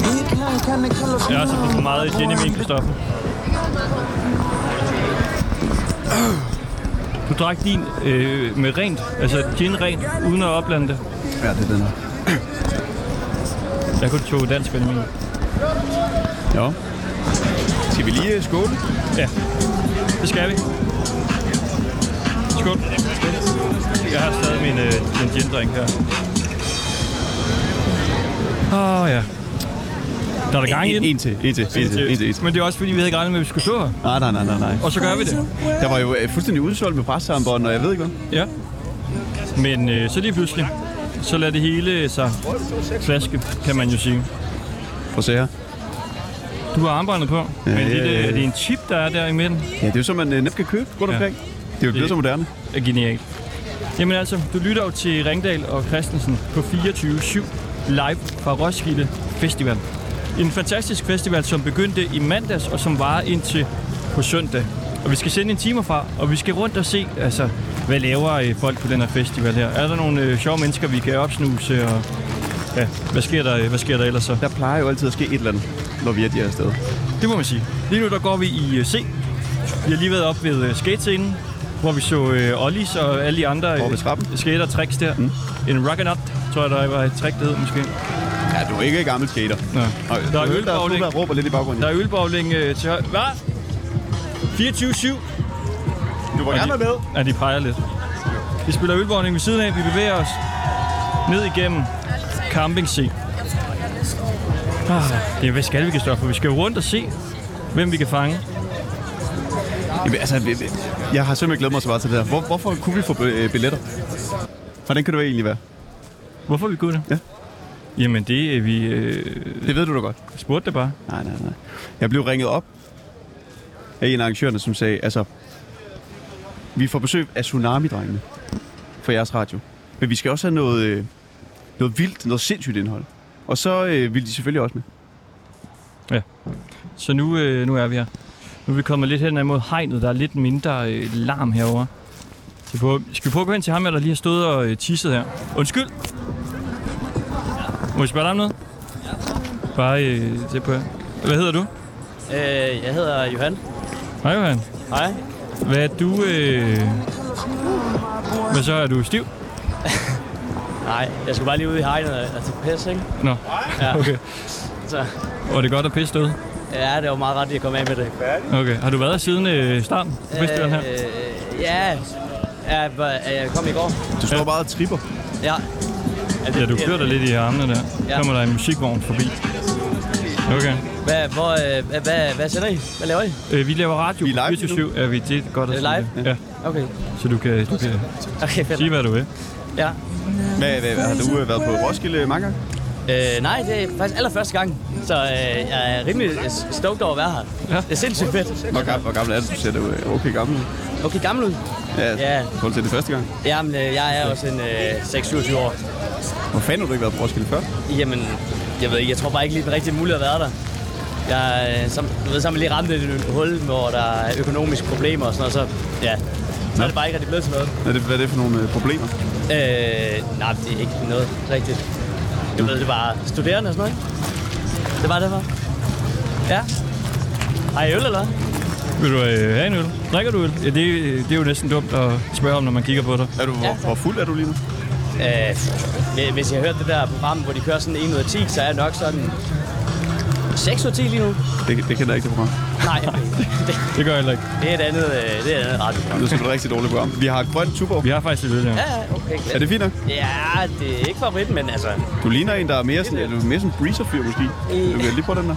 Jeg har altså fået for meget gin i min, Kristoffer. Du drak din øh, med rent, altså gin rent, uden at oplande det. Ja, det er den her. Jeg kunne tog dansk vand i min. Jo. Skal vi lige øh, skåle? Ja, det skal vi. Skål. Jeg har stadig min, øh, min gin-drink her. Åh oh, ja. Der er der gang i En, den. en til, en til, en til, en til, en til. Men det er også fordi, vi havde ikke regnet med, at vi skulle stå her. Nej, nej, nej, nej, nej. Og så gør vi det. Der var jo øh, fuldstændig udsolgt med pressearmbånd, og jeg ved ikke hvad. Ja. Men øh, så lige pludselig, så lader det hele sig flaske, kan man jo sige. Prøv at se her. Du har armbåndet på, men Ja, det, ja, ja, det, ja. det er en chip, der er der i midten. Ja, det er jo sådan, man øh, nemt kan købe rundt Ja. omkring. Det er jo blevet så moderne. er genialt. Jamen altså, du lytter jo til Ringdal og Christensen på 24-7 live fra Roskilde Festival. En fantastisk festival, som begyndte i mandags og som varer indtil på søndag. Og vi skal sende en timer fra, og vi skal rundt og se, altså, hvad laver øh, folk på den her festival her? Er der nogle øh, sjove mennesker, vi kan opsnuse? Og, ja, hvad sker, der, øh, hvad sker der ellers så? Der plejer jo altid at ske et eller andet, når vi er de her steder. Det må man sige. Lige nu der går vi i øh, C. Vi har lige været op ved øh, skatescenen, hvor vi så øh, Ollies og alle de andre øh, Oppe ved trappen. skater tricks der. Mm. En rock and up, tror jeg, der var et trick, det hed måske. Ja, du er ikke gammel skater. Nå. Og, øh, Der er der er ølbowling. der råber lidt i baggrunden. Der er ølbowling øh, til højre. Hvad? 24-7. Du var Og gerne de- med. Ja, de peger lidt. Vi spiller ølbowling ved siden af. Vi bevæger os ned igennem Camping C. Ah, det, hvad skal vi, Kristoffer? Vi skal jo rundt og se, hvem vi kan fange. Jamen, altså, vi- vi- jeg har simpelthen glædet mig så meget til det her. Hvor, hvorfor kunne vi få øh, billetter? Hvordan kan det egentlig være? Hvorfor vi kunne det? Ja. Jamen det, øh, vi øh, Det ved du da godt. spurgte det bare. Nej, nej, nej. Jeg blev ringet op af en af arrangørerne, som sagde, altså, vi får besøg af Tsunami-drengene for jeres radio. Men vi skal også have noget, øh, noget vildt, noget sindssygt indhold. Og så øh, vil de selvfølgelig også med. Så nu, øh, nu er vi her. Nu er vi kommet lidt hen imod hegnet, der er lidt mindre øh, larm herover. Skal vi, prøve, skal vi prøve at gå hen til ham, her, der lige har stået og øh, tisset her? Undskyld! Må jeg spørge dig om noget? Bare øh, det på her. Hvad hedder du? Øh, jeg hedder Johan. Hej Johan. Hej. Hvad er du... Øh... Hvad så? Er du stiv? Nej, jeg skulle bare lige ud i hegnet og og tage pis, ikke? Nå, Ja. okay. Så, Var det godt at pisse derude? ja, det var meget ret, at komme af med det. Okay. Har du været her siden øh, starten? på Festivalen her? Øh, ja, ja, hvor- øh, jeg kom i går. Du står bare og tripper. Ja. Ja, du kører dig lidt i armene der. Ja. Ja. Kommer der en musikvogn forbi. Okay. Hvad, hvor, øh, hvad, hvad, hvad sender I? Hvad laver I? Øh, vi laver radio. Vi er live lige 24/7. Ja, vi, det er godt at Er det sige live? Ja. Okay. Så du kan, du kan Okay, fedt. sige, hvad du vil. Ja. Hvad, hvad, hvad, har du øh, været på Roskilde mange gange? Øh, nej, det er faktisk allerførste gang, så øh, jeg er rimelig øh, stoked over at være her. Ja. Det er sindssygt fedt. Hvor gammel, hvor gammel er du? Du ser da øh, okay gammel. ud. Okay, gammel ud. Ja, Ja. ja. til det første gang. Jamen, øh, jeg er også en øh, 6-27 år. Hvor fanden har du ikke været på Roskilde før? Jamen, jeg ved ikke, jeg tror bare ikke lige, det er rigtig muligt at være der. Jeg, øh, som, du ved, så har man lige ramt et ø- hul, hvor der er økonomiske problemer og sådan noget, så ja, så er det bare ikke rigtig blevet til noget. Hvad er det, hvad er det for nogle øh, problemer? Øh, nej, det er ikke noget rigtigt. Du ved, det var studerende og sådan noget, ikke? Det var derfor. Ja. Har I øl, eller hvad? Vil du øh, have en øl? Drikker du øl? Ja, det, det er jo næsten dumt at spørge om, når man kigger på dig. Er du, hvor, hvor fuld er du lige nu? Øh, hvi- hvis jeg har hørt det der program, hvor de kører sådan 1 ud af 10, så er jeg nok sådan 6 ud af 10 lige nu. Det, det kender jeg ikke, det program. Nej, det, Det gør jeg heller ikke. det er et andet, øh, det er et andet radioprogram. Det er sådan et rigtig dårligt program. Vi har grønt tuborg. Vi har faktisk lidt øl her. Ja, ja, okay, Er det fint nok? Ja, det er ikke favoritten, men altså... Du ligner en, der er mere sådan, er du mere sådan en breezer-fyr måske. Du kan lige prøve den der.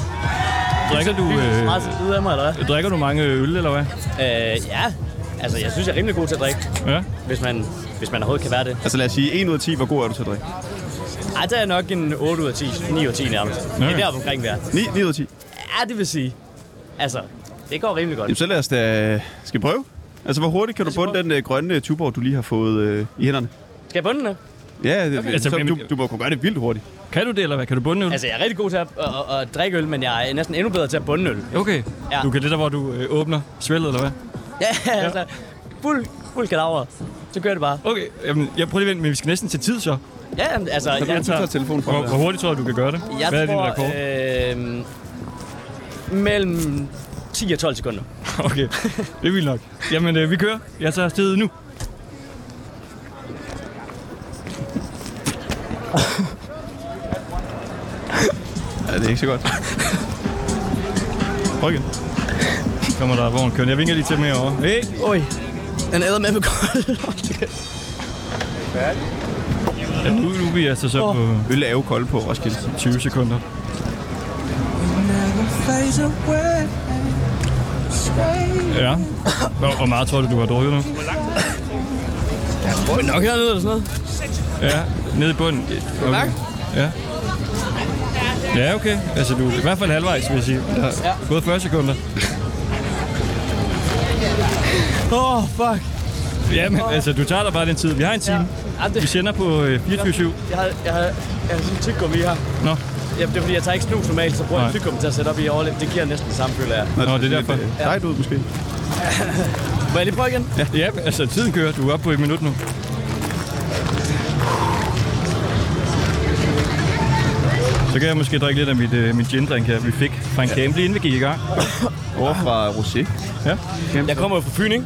Drikker du, Øh... øh, Meget tid af mig, eller hvad? drikker du mange øl, eller hvad? Øh, ja. Altså, jeg synes, jeg er rimelig god til at drikke, Ja. hvis man, hvis man overhovedet kan være det. Altså lad os sige, 1 ud af 10, hvor god er du til at drikke? Ej, der er nok en 8 ud af 10, 9 ud af 10 nærmest. Det Okay. er deroppe omkring der. 9, 9 ud af 10. Ja, det vil sige. Altså, det går rimelig Jamen godt. så lad os da... Skal vi prøve? Altså hvor hurtigt kan du bunde den øh, grønne tuborg, du lige har fået øh, i hænderne? Skal jeg bunde den nu? Ja, det, okay. Altså, så, men- du, du må kunne gøre det vildt hurtigt. Kan du det, eller hvad? Kan du bunde øl? Altså, jeg er rigtig god til at, at, at, at drikke øl, men jeg er næsten endnu bedre til at bunde øl. Okay. Ja. Du kan det der, hvor du øh, åbner svældet, eller hvad? Ja, altså, fuld, fuld kadaver. Så kører det bare. Okay, jamen, jeg prøver lige at vente, men vi skal næsten til tid så. Ja, jamen, altså, Så du, jeg, du tager telefonen fra Hvor, hvor mig. hurtigt tror du, du kan gøre det? jeg Hvad er din tror, rekord? Øh, mellem 10 og 12 sekunder. Okay, det er vildt nok. Jamen, øh, vi kører. Jeg tager afsted nu. Ja, det er ikke så godt. Prøv igen. Kommer der vogn kørende. Jeg vinker lige til dem herovre. Hey, Oj, den æder med med kold. ja, nu, nu er vi altså så på Øl er jo kold på Roskilde. 20 sekunder. fades away. Stay. Ja. Hvor, hvor meget tror du, du har drukket nu? Hvor er vi nok hernede eller sådan noget? Ja, nede i bunden. Okay. Ja. Ja, okay. Altså, du er i hvert fald halvvejs, vil jeg sige. Der er ja. gået 40 sekunder. Åh, oh, fuck. Ja, men altså, du tager dig bare den tid. Vi har en time. Ja, Vi det, sender på øh, 24-7. jeg har, jeg har, jeg har sådan en tyggegummi her. Nå, Ja, det er fordi, jeg tager ikke snus normalt, så bruger jeg Nej. en tyggegummi til at sætte op i overlæb. Det giver næsten det samme, føler jeg. Nå, det er derfor. Nej, du øh, måske. Må jeg lige prøve igen? Ja. ja, altså, tiden kører. Du er oppe på et minut nu. Så kan jeg måske drikke lidt af mit, øh, min gin-drink her, vi fik fra en camp, lige inden vi gik i gang. Over fra Rosé. Ja. Mhm. Jeg kommer jo fra Fyn, ikke?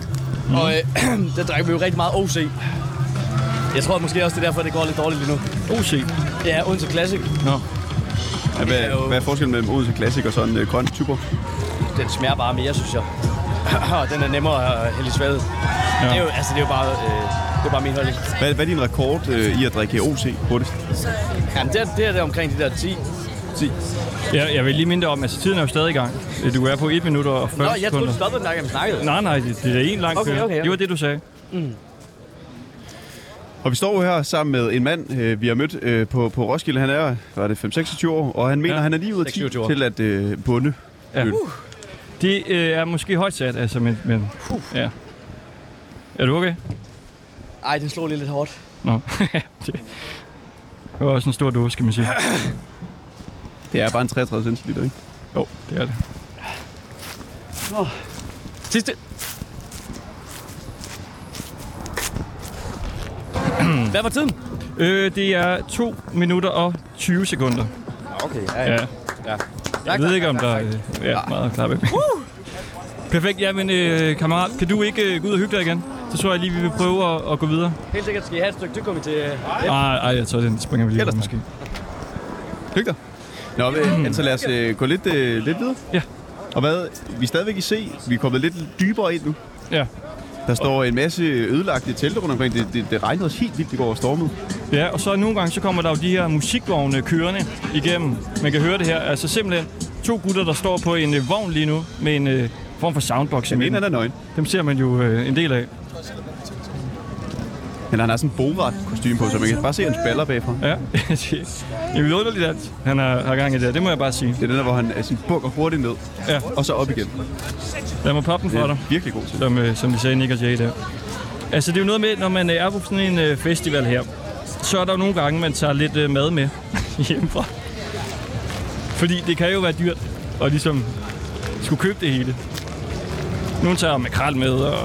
Mm. Og øh, der drikker vi jo rigtig meget OC. Jeg tror måske også, det er derfor, det går lidt dårligt lige nu. OC. Ja, Odense Classic. Nå, Ja, hvad, hvad er forskellen mellem Odense Classic og sådan en øh, grøn Tuborg? Den smager bare mere, synes jeg. Og den er nemmere at hælde i svaget. Ja. Det, er jo, altså, det er jo bare, øh, det er bare min holdning. Hvad, hvad er din rekord øh, i at drikke OC hurtigst? Jamen, det er, det er der omkring de der 10. 10. jeg, jeg vil lige minde dig om, altså tiden er jo stadig i gang. Du er på 1 minut og 40 Nå, jeg troede, sekunder. du stoppede, når jeg snakkede. Nej, nej, det, det er en lang Okay, kø. okay, Det var okay. det, du sagde. Og vi står jo her sammen med en mand, øh, vi har mødt øh, på, på Roskilde. Han er, hvad er det, 5-26 år, og han mener, Ja. ja. han er lige ud af 10 26 år. til at øh, bunde. Ja. Ja. Uh. Det øh, er måske højt sat, altså, men... men Uh. ja. Er du okay? Ej, den slog lige lidt hårdt. Nå. det var også en stor dåse, skal man sige. Det er bare en 33 centiliter, ikke? Jo, det er det. Sidste. Hvad var tiden? Øh, det er 2 minutter og 20 sekunder. Okay, Ja. ja. Jeg ved ikke, om der er øh, ja, meget at klappe. Perfekt. Jamen, øh, kammerat, kan du ikke øh, gå ud og hygge dig igen? Så tror jeg lige, vi vil prøve at, at gå videre. Helt sikkert skal I have et stykke tyggegummi til... øh. Nej, ej, jeg tror, den springer vi lige over, Ellers tak. måske. Hyg dig. Nå, øh, altså lad os øh, gå lidt, øh, lidt videre. Mm. Ja. Og hvad, vi er stadigvæk i C, vi er kommet lidt dybere ind nu. Ja. Der står en masse ødelagte telte rundt omkring. Det, det, det regnede os helt vildt i går og stormede. Ja, og så nogle gange, så kommer der jo de her musikvogne kørende igennem. Man kan høre det her. Altså simpelthen to gutter, der står på en øh, vogn lige nu med en øh, form for soundbox i Den ene midten. han er nøgen, Dem ser man jo øh, en del af. men han har sådan en borat kostume på, så man kan bare se hans baller bagfra. Ja, det er vildt underligt, at han har, har gang i det her. Det må jeg bare sige. Det er den der, hvor han altså, bukker hurtigt ned, Ja, og så op igen. lad mig poppe den Det for dig, er virkelig god til. som, øh, som vi sagde Nick og Jay der. Altså, det er jo noget med, når man øh, er på sådan en øh, festival her, så er der jo nogle gange, man tager lidt øh, mad med hjemmefra. Fordi det kan jo være dyrt at ligesom skulle købe det hele. Nogle tager makrel med og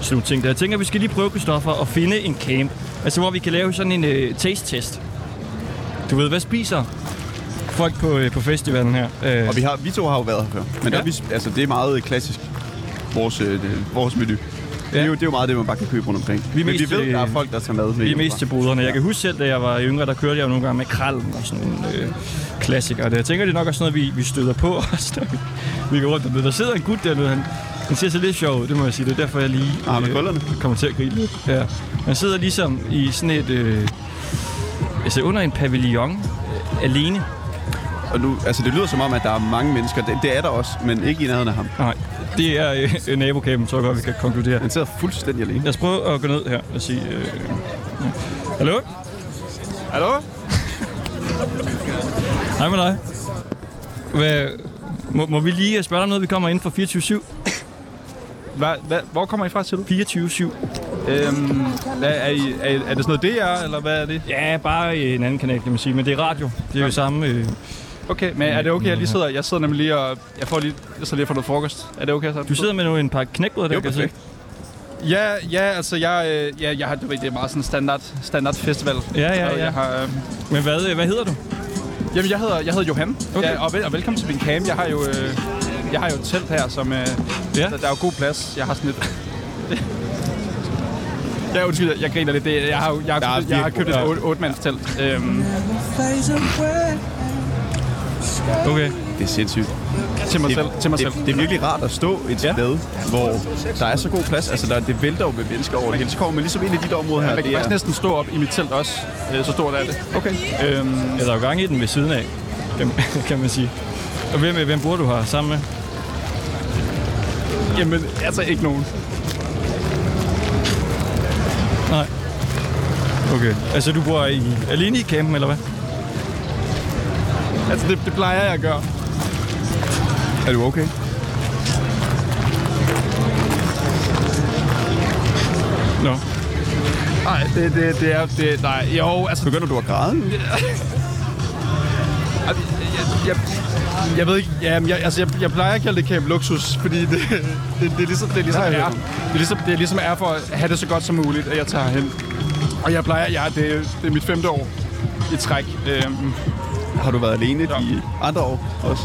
sådan nogle ting der. Jeg tænker, vi skal lige prøve, Kristoffer, at finde en camp. Altså, hvor vi kan lave sådan en øh, taste-test. Du ved, hvad spiser folk på, øh, på festivalen her? Øh, Og vi, har, vi to har jo været her før, men ja. Ja. der, vi, altså, det er meget klassisk, vores, øh, det- vores menu. Det, er jo, det er jo meget det, man bare kan købe rundt omkring. er men mest vi ved, til- der øh, er folk, der tager mad med. Vi er mest hjemmefra. til boderne. Jeg kan huske selv, da jeg var yngre, der kørte jeg jo nogle gange med krallen og sådan nogle øh, klassikere. Der. Jeg tænker, det er nok også noget, vi, vi støder på også, da vi, vi går rundt dernede. Der sidder en gut dernede, han, han ser så lidt sjov ud, det må jeg sige. Det er derfor, jeg lige øh, Ah, med krøllerne? kommer til at grine lidt. Ja. Han sidder ligesom i sådan et... Øh, altså under en pavillon øh, alene. Og nu, altså, det lyder som om, at der er mange mennesker. Det, det er der også, men ikke i nærheden af ham. Nej, det er øh, nabokæben, tror jeg godt, vi kan konkludere. Han sidder fuldstændig alene. Lad os prøve at gå ned her og sige... Øh, ja. Hallo? Hallo? Hej med dig. Hvad, må, må vi lige øh, spørge dig om noget? Vi kommer ind fra 24-7. Hva, hva, hvor kommer I fra, siger du? 24-7. Øhm, hvad, er, I, er, I- er det sådan noget DR, eller hvad er det? Ja, bare en anden kanal, kan man sige. Men det er radio. Det er jo samme... Øh, Okay, men er det okay, jeg lige sidder, jeg sidder nemlig lige og, jeg får lige, jeg sidder lige og får noget frokost. Er det okay, så? du sidder med nu en pakke knækbrød, der Jo, kan jeg se. perfekt. Ja, ja, altså jeg, øh, ja, jeg har, du ved, det er meget sådan standard, standard festival. Ja, ja, ja. Jeg, har, øh, Men hvad, hvad hedder du? jamen, jeg hedder, jeg hedder Johan, Okay. okay. ja, og, vel, og velkommen til min camp. Jeg har jo, øh, jeg har jo et telt her, som, øh, Ja. ja. der, der er jo god plads. Jeg har sådan et... Ja, undskyld, jeg- jeg griner lidt. Det, jeg, har, jo- jeg, har, jeg, jeg har købt et otte- otte-mandstelt. Øhm, Okay. Det er sindssygt. til mig Det, selv. Til mig det, selv. det er virkelig rart at stå et Ja. sted, hvor der er så god plads. Altså, der, det vælter jo med mennesker over det hele. Så kommer man ligesom ind i dit område her. Man kan det faktisk er, næsten stå op i mit telt også. Øh, så stort er det. okay. Øhm, Ja, der er jo gang i den ved siden af, kan, kan man sige. Og hvem, øh, hvem bor du her sammen med? jamen, altså ikke nogen. Nej. Okay. Altså, du bor i, alene i campen, eller hvad? Altså, det, det plejer jeg at gøre. Er du okay? Nå. Nej, det, det, det er... Det, nej, jo, altså... Begynder du at græde? nu? Jeg, jeg, jeg, jeg ved ikke... Jamen, jeg, altså, jeg, jeg plejer at kalde det Camp Luxus, fordi det, det, det er ligesom, det er ligesom, Nej, jeg er, hører det er ligesom, det er ligesom er for at have det så godt som muligt, at jeg tager hen. Og jeg plejer... Jeg, det, det er mit femte år i træk. Øhm, Har du været alene Ja. de andre år også?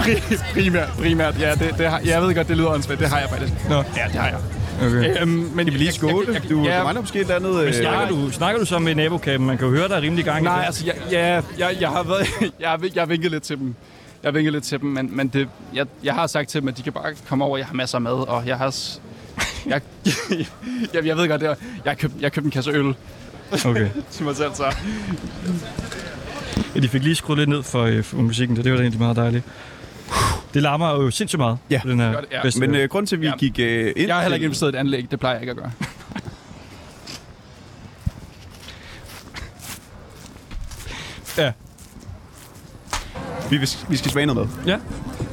pri- primært, primært. Ja, det, det har, jeg ved godt, det lyder åndssvagt. Det har jeg faktisk. Nå. Ja, det har jeg. Okay. Øhm, men jeg vil Lige skåle. Du, du ja, mangler måske et eller andet... øh, Snakker du, snakker du så med nabokampen? Man kan jo høre, der er rimelig gang i Nej, den. altså, jeg, ja, jeg, jeg har været, jeg, har, vin- jeg har vinket lidt til dem. Jeg har vinket lidt til dem, men, men det, jeg, jeg har sagt til dem, at de kan bare komme over, jeg har masser af mad, og jeg har... s- Jeg, jeg, jeg ved godt, det er, jeg har købt, jeg har købt en kasse øl Okay. til mig selv, så... Ja, de fik lige skruet lidt ned for, øh, for musikken, så det var da egentlig meget dejligt. Det larmer jo sindssygt meget Ja, på den her gør det, ja. festival. Men øh, grunden til, at vi Ja. gik øh, ind... Jeg har heller ikke til- investeret i et anlæg, det plejer jeg ikke at gøre. ja. Vi, vil, vi skal smage noget mad. ja.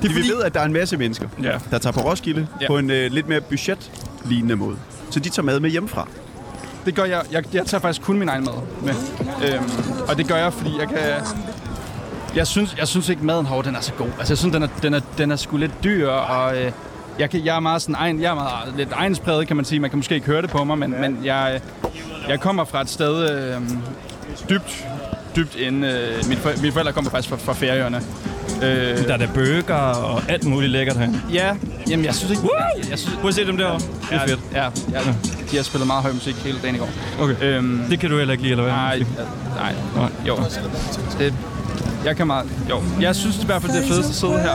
Det Vi ved, at der er en masse mennesker, Ja. der tager på Roskilde Ja. på en øh, lidt mere budget-lignende måde. Så de tager mad med hjemmefra. Det gør jeg, jeg, jeg tager faktisk kun min egen mad med. Øhm, og det gør jeg, fordi jeg kan... Jeg synes, jeg synes ikke, maden herovre, den er så god. Altså, jeg synes, den er, den er, den er sgu lidt dyr, og øh, jeg, kan, jeg er meget sådan egen, jeg er meget, lidt egenspræget, kan man sige. Man kan måske ikke høre det på mig, men, men jeg, øh, jeg kommer fra et sted øh, dybt, dybt inde. Øh, mine, for, mine forældre kommer faktisk fra, fra Færøerne. Øh, Der er der burger og alt muligt lækkert herinde. ja, jamen jeg synes ikke... Jeg, jeg synes, Prøv at se dem derovre. Det er fedt. Ja, ja, de har spillet meget høj musik hele dagen i går. Okay. Øhm, Øh, Det kan du heller ikke lide, eller hvad? Nej, øh, nej, Nej. jo. Det, jeg kan meget, jo. Jeg synes i hvert fald, det er fedest at sidde her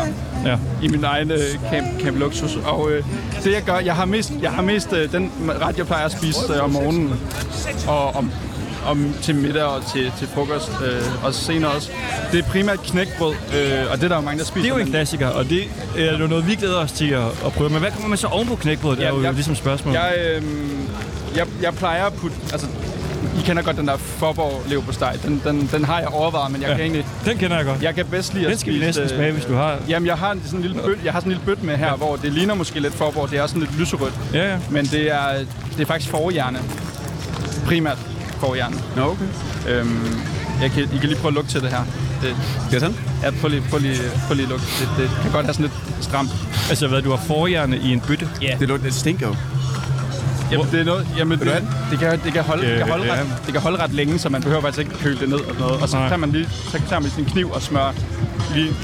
Ja. i min egen øh, camp, camp Luxus. Og øh, det jeg gør, jeg har mest, jeg har mest øh, den ret, jeg plejer at spise øh, om morgenen og om, om til middag og til, til frokost øh, og senere også. Det er primært knækbrød, øh, og det er der jo mange, der spiser. Det er jo en men- klassiker, og det er jo noget, vi glæder os til at, at prøve. Men hvad kommer man så ovenpå knækbrødet? Det er Ja, jo jeg- ligesom spørgsmålet. Jeg, øh, jeg, jeg plejer at putte... Altså, I kender godt den der Forborg leverpostej. Den, den, den har jeg overvejet, men jeg ja. kan egentlig... Den kender jeg godt. Jeg kan bedst lide at Den skal vi spise, næsten øh, smage, hvis du har. Jamen, jeg har en sådan en lille bøt, jeg har sådan en lille bøt med her, ja. hvor det ligner måske lidt forborg. Det er sådan lidt lyserødt. Ja, ja. Men det er, det er faktisk forhjerne. Primært forhjerne. Nå, okay. Øhm, jeg kan, I kan lige prøve at lugte til det her. Det, Skal jeg tage den? ja, prøv lige, prøv lige, prøv lige at lugte. Det, det kan godt have sådan lidt stramt. Altså, hvad, du har forhjerne i en bøtte? Ja. Det, lugter- det stinker jo. Jamen, det er noget, jamen, du det, have det, kan, det, kan holde, det, kan Øh, holde ja. ret, det kan holde ret længe, så man behøver faktisk ikke køle det ned og noget. Og så Nej. tager man lige, så tager man sin kniv og smører lige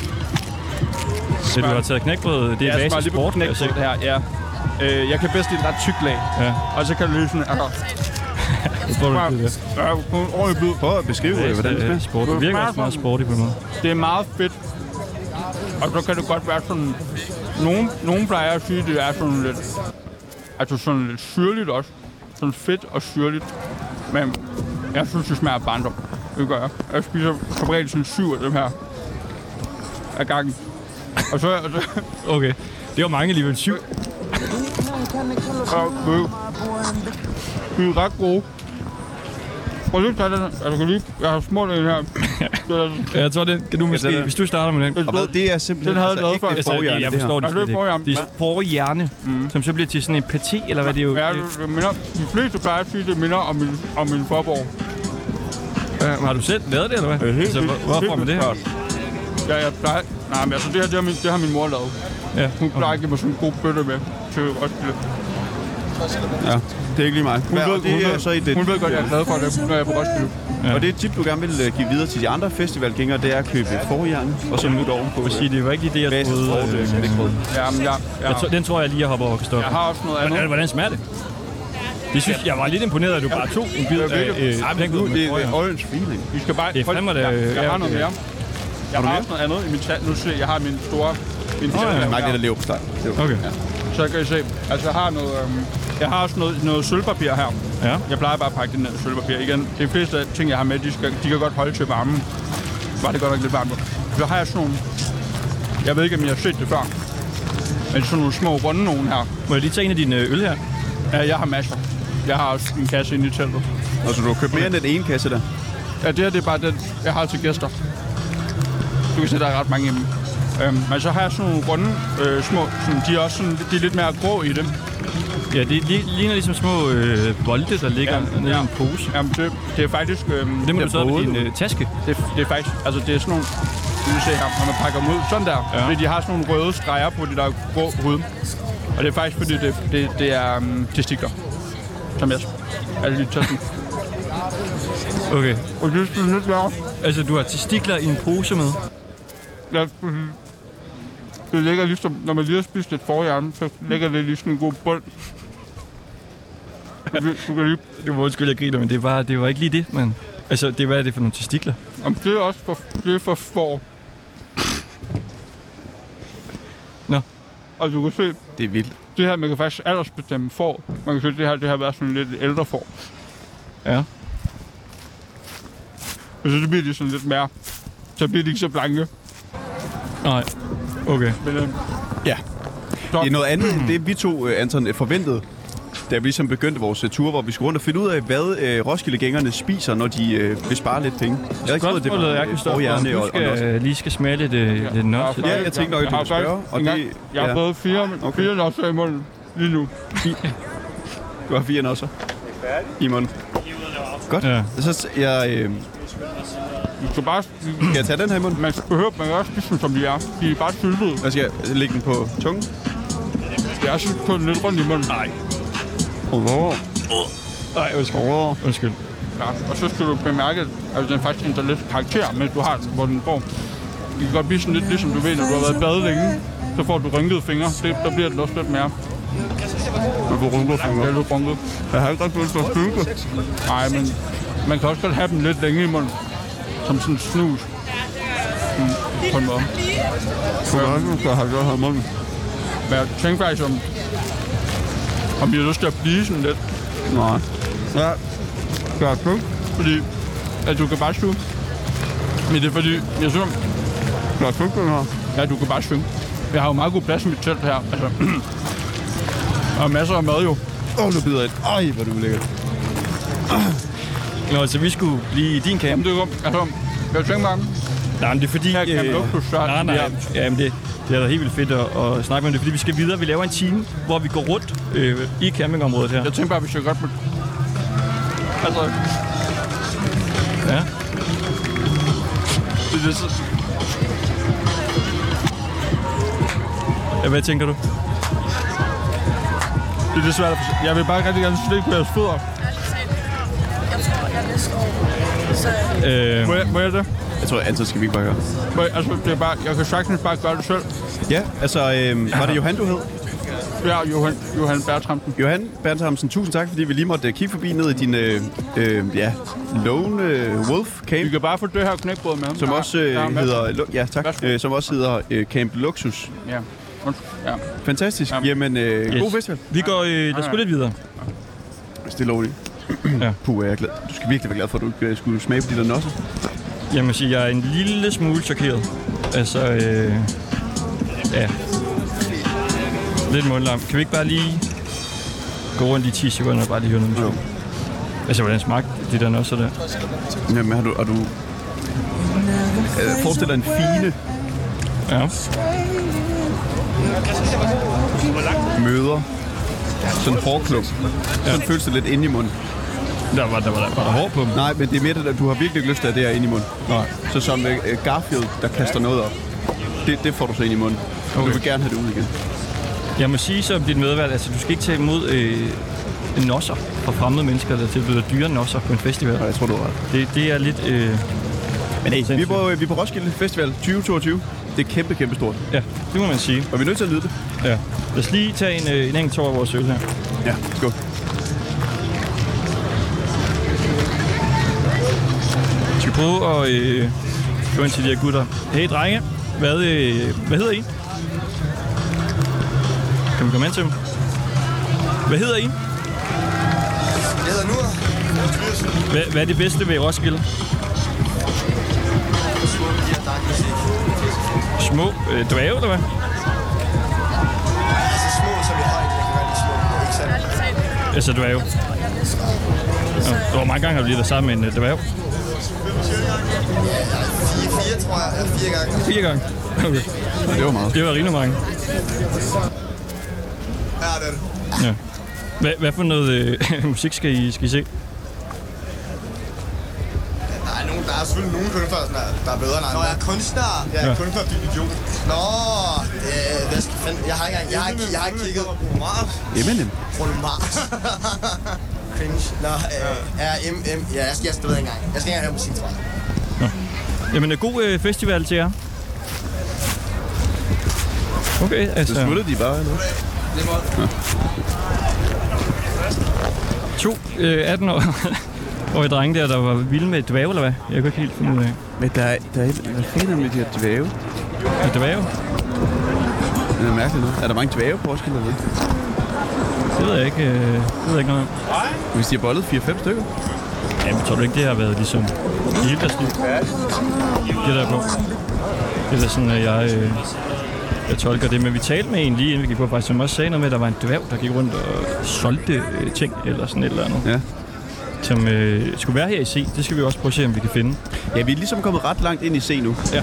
Så du har taget knækbrød, det er Jeg ja, smager basisk altså, lige på sport, altså. kan jeg se. knækbrød her, ja. Øh, jeg kan bedst lide et ret tykt lag. Ja. Og så kan du lige sådan, altså, Det får du bare- ikke det. ja, kun ordentligt blod. Prøv at beskrive, øh, hvordan det Det er smager. sport. Det virker også meget sporty på en måde. Det er meget fedt. Og så kan det godt være sådan, nogen, nogen plejer at sige, at det er sådan lidt, altså sådan lidt syrligt også. Sådan fedt og syrligt. Men jeg synes, det smager af barndom. Det gør jeg. Jeg spiser som regel sådan syv af dem her af gangen. Og så, og så Okay. Det var mange alligevel syv. Og bøv. De er ret gode. Prøv lige at tage den. Jeg kan lige... Jeg har smurt en her. Ja, jeg tror det. Kan du det måske, er- hvis du starter med den. Og hvad, det er simpelthen Den havde ikke jeg glad for. det Altså, forhjerne, jeg det her. forstår det Ja, det er slet ikke. forhjerne. Det er forhjerne, Mm. som så bliver til sådan en paté, eller hvad det er jo. Ja, det- det minder... De fleste plejer at sige, det minder om min, om min forborg. Har du selv lavet det, eller hvad? helt Altså, hvor, vildt. hvor får man det her? Ja, jeg plejer... Nej, men altså, det her, det har min, det har min mor lavet. Ja. Hun plejer at give mig sådan en god bøtte med til Roskilde. Ja, det er ikke lige mig. Hun ved- og det hun er ved- så i det. Hun ved godt, jeg er glad for det, når jeg er på Roskilde. Ja. Og det er et tip, du gerne vil øh, give videre til de andre festivalgængere, det er at købe forhjern, og så nyt ovenpå. Jeg vil sige, det var ikke lige det, jeg Basis troede. og øh, øh, knækbrød. Ja, men jeg, jeg, Jeg tror, den tror jeg lige, jeg hopper over, Kristoffer. jeg har også noget andet. Hvordan, hvordan smager det? Det synes, jeg var lidt imponeret, at du bare tog en bid Jeg ved af det. øh, Ej, men nu, knækbrød det med er forhjern. orange feeling. Vi skal bare... Det er Hold- fandme, det- Jeg, jeg ja, har noget det- mere. Jeg har, også noget andet i min tand. Nu ser jeg, jeg har min store... Min oh, ja. Nej, det er der lever på dig. Okay. Så kan I se. Altså, jeg har noget... Øhm, jeg har også noget, noget sølvpapir her. Ja. Jeg plejer bare at pakke det ned i sølvpapir igen. De fleste af ting, jeg har med, de, skal, de kan godt holde til varmen. Var det godt nok lidt varmt. Så har jeg sådan nogle... Jeg ved ikke, om jeg har set det før. Men sådan nogle små runde nogen her. Må jeg lige tage en af dine øh, øl her? Ja, jeg har masser. Jeg har også en kasse inde i teltet. Og så du har købt mere end den ene kasse der. Ja, det her det er bare den, jeg har til gæster. Du kan se, der er ret mange i dem. Øhm, men så har jeg sådan nogle runde øh, små, sådan, de er også sådan, de er lidt mere grå i dem. Ja, det li- ligner ligesom små øh, bolde, der ligger Ja, ja, nede i ja. en pose. Jamen, det, det er faktisk, øhm, Det må Ja, du så have i din både. øh, taske. det, det er faktisk, altså det er sådan nogle, du kan se her, når man pakker dem ud, sådan der. Ja. Fordi de har sådan nogle røde streger på de der grå hud. Og det er faktisk, fordi det, det, det er øhm, testikler. Som jeg altså lige tager sådan. Okay. Og det er lidt værre. Altså, du har testikler i en pose med. Ja, præcis. Det ligger ligesom, når man lige har spist et forhjerne, så ligger det lige sådan en god bold. Du kan- Du kan lige... Du må undskylde, jeg griner, men det var, det var ikke lige det, mand. Altså, det, hvad er det for nogle testikler? Jamen, det er også for, det er for for. Nå. Og du kan se, Det er vildt. det her, man kan faktisk aldersbestemme for. Man kan se, det her, det her været sådan lidt ældre for. Ja. Og så bliver de sådan lidt mere... Så bliver de ikke så blanke. Nej. Okay. Men, øh, Ja. så, Det er noget andet end det, vi to, øh, Anton, øh, forventede, da vi ligesom begyndte vores øh, tur, hvor vi skulle rundt og finde ud af, hvad øh, Roskilde-gængerne spiser, når de øh, vil spare lidt penge. Jeg havde ikke troet, det var Spørgsmålet er, øh, Kristoffer, om forhjerne du og, og noget. skal, øh, lige skal smage lidt, øh, lidt nødt til Ja, jeg tænkte nok, at du har ville spørge, faktisk og engang- det- Jeg har ja. Ah, fået fire, Okay. okay. fire losser i munden lige nu. Du har fire også. I munden. Godt. Ja. Ja. Så jeg, øh, Du skal bare... kan jeg tage den her i munden? Man skal behøver man kan også spise dem, som de er. De er bare syltede. Og skal jeg lægge den på tungen? Jeg er sådan kun lidt rundt i munden. Nej. Wow. Nej, undskyld. Wow. Undskyld. Ja, og så skal du bemærke, at den faktisk ændrer lidt karakter, mens du har den, hvor den går. Det kan godt blive sådan lidt ligesom du ved, når du har været i bade længe, så får du rynkede fingre. Det, der bliver det også lidt mere. Du får rynkede fingre. Ja, du får rynkede. Jeg har ikke rigtig følt for styrke. Nej, men man kan også godt have dem lidt længe i munden. Som sådan snus. Mm, på en måde. Hvordan skal jeg have det her i munden? Men jeg tænker faktisk, om, om jeg har lyst til at blive sådan lidt. Nej. Ja. Skal jeg slukke? Fordi at du kan bare suge. Men det er fordi, jeg synes, Skal jeg slukke den her? Ja, du kan bare synge. Jeg har jo meget god plads i mit telt her. Altså, og masser af mad jo. Åh, oh, nu bider jeg. Ej, hvor du lækkert. Nå, så vi skulle blive i din camp. Jamen, det er jo, altså, jeg tænker bare, Nej, men det er fordi... her kan øh, lugte så Nej, nej. Ja, men det, det er da helt vildt fedt at, at snakke med det, fordi vi skal videre. Vi laver en time, hvor vi går rundt øh, i campingområdet her. Jeg tænker bare, hvis jeg godt må... Altså, Ja. det, det, så- Ja, Hvad tænker du? det, det er svært at forstå. Jeg vil bare rigtig gerne slikke på jeres fødder. Jeg tror, jeg er næste år. Så Øh, Må jeg, må jeg det? Jeg tror, Anton skal vi ikke bare gøre. Må jeg, altså, det er bare, jeg kan sagtens bare gøre det selv. Ja, altså, øh, var det Johan, du hed? Ja, Johan, Johan Bertramsen. Johan Bernhamsen, tusind tak, fordi vi lige måtte øh, kigge forbi ned i din, øh, øh, ja, Lone øh, Wolf Vi Camp, kan bare få det her knækbrød med. som Der er- også der er øh, masser. hedder, Lu- ja tak, Værsgo. øh, som også hedder øh, Camp Luxus. Ja. Undskyld. Ja. Fantastisk. Jamen. Jamen, øh, Yes. god festival. vi går øh, der skulle lidt videre. Stille og roligt. Ja. Puh, jeg er glad. Du skal virkelig være glad for, at du ikke øh, skulle smage på de der nosser. Jamen, jeg, siger, jeg er en lille smule chokeret. Altså, øh, ja. Lidt mundlam. Kan vi ikke bare lige gå rundt i 10 sekunder og bare lige høre noget musik? Altså, hvordan smagte det der også der? Jamen, har du, har du øh, forestil dig en fine Ja. møder, sådan en forklub. Sådan føles det lidt inde i munden. Der var der var, der var hår på dem. Nej, men det er mere det, at du har virkelig ikke lyst til at det her inde i munden. Nej. Så som øh, Garfield, der kaster noget op. Det, det får du så ind i munden. Okay. Du vil gerne have det ud igen. Jeg må sige så om dit medvalg, altså du skal ikke tage imod øh, nosser fra fremmede mennesker, der tilbyder dyre nosser på en festival. Og jeg tror, du har ret. Det, det er lidt... Øh, Men hey, vi er, sindssygt. på, øh, vi er på Roskilde Festival 2022. Det er kæmpe, kæmpe stort. ja, det må man sige. Og vi er nødt til at nyde det. Ja. Lad os lige tage en, øh, en enkelt tår af vores øl her. Ja, skål. Vi skal prøve at øh, gå ind til de her gutter. Hey drenge, hvad, øh, hvad hedder I? Kan vi komme ind til dem? Hvad hedder I? Jeg hedder Nur. Hvad, hvad er det bedste ved Roskilde? Små øh, dvæve, eller hvad? Altså små, som i højt. Jeg kan være lidt små. Ikke sandt? Ærligt talt, Altså dvæve. jeg tror, jeg næsten Nå, Hvor mange gange har du lige været sammen med en øh, dvæve? Fire, fire, tror jeg. Eller fire gange. Fire gange. Okay. Det var meget. Det var rimelig mange. Ja, det er det. Ja. Hvad, hvad for noget øh, musik skal I, skal I se? Der er, nogen, der er selvfølgelig nogen kunstnere, som er, der er bedre end andre. Nå, jeg er kunstner. Jeg er Ja. ja. kunstner, din idiot. Nå, øh, hvad skal fanden? Jeg har ikke engang, jeg har, ikke- jeg har ikke kigget. Bruno Mars. Eminem. Bruno Mars. Cringe. Nå, øh, er M, M, ja, jeg skal, jeg skal det ved jeg ikke engang. Jeg skal ikke engang høre musik, tror jeg. Jamen, øh, god øh, festival til jer. Okay, Så altså... smuttede de bare, eller hvad? To øh, 18 år og et drenge der, der var vilde med dvæve, eller hvad? Jeg kan ikke helt finde ud af. Men der er, der er, hvad fanden er med de her dvæve? Med dvæve? Det er mærkeligt noget. Er der mange dvæve på Roskilde eller hvad? Det ved jeg ikke, øh, det ved jeg ikke noget om. Hvis de har bollet 4-5 stykker. Jamen, tror du ikke, det har været ligesom i hele deres liv? Det der på. Det er da sådan, at jeg, øh, jeg tolker det. Men vi talte med en lige inden vi gik på, faktisk, som også sagde noget med, at der var en dværg, der gik rundt og solgte øh, ting eller sådan et eller andet. Ja. Som øh, skulle være her i C. Det skal vi også prøve at se, om vi kan finde. Ja, vi er ligesom kommet ret langt ind i C nu. Ja.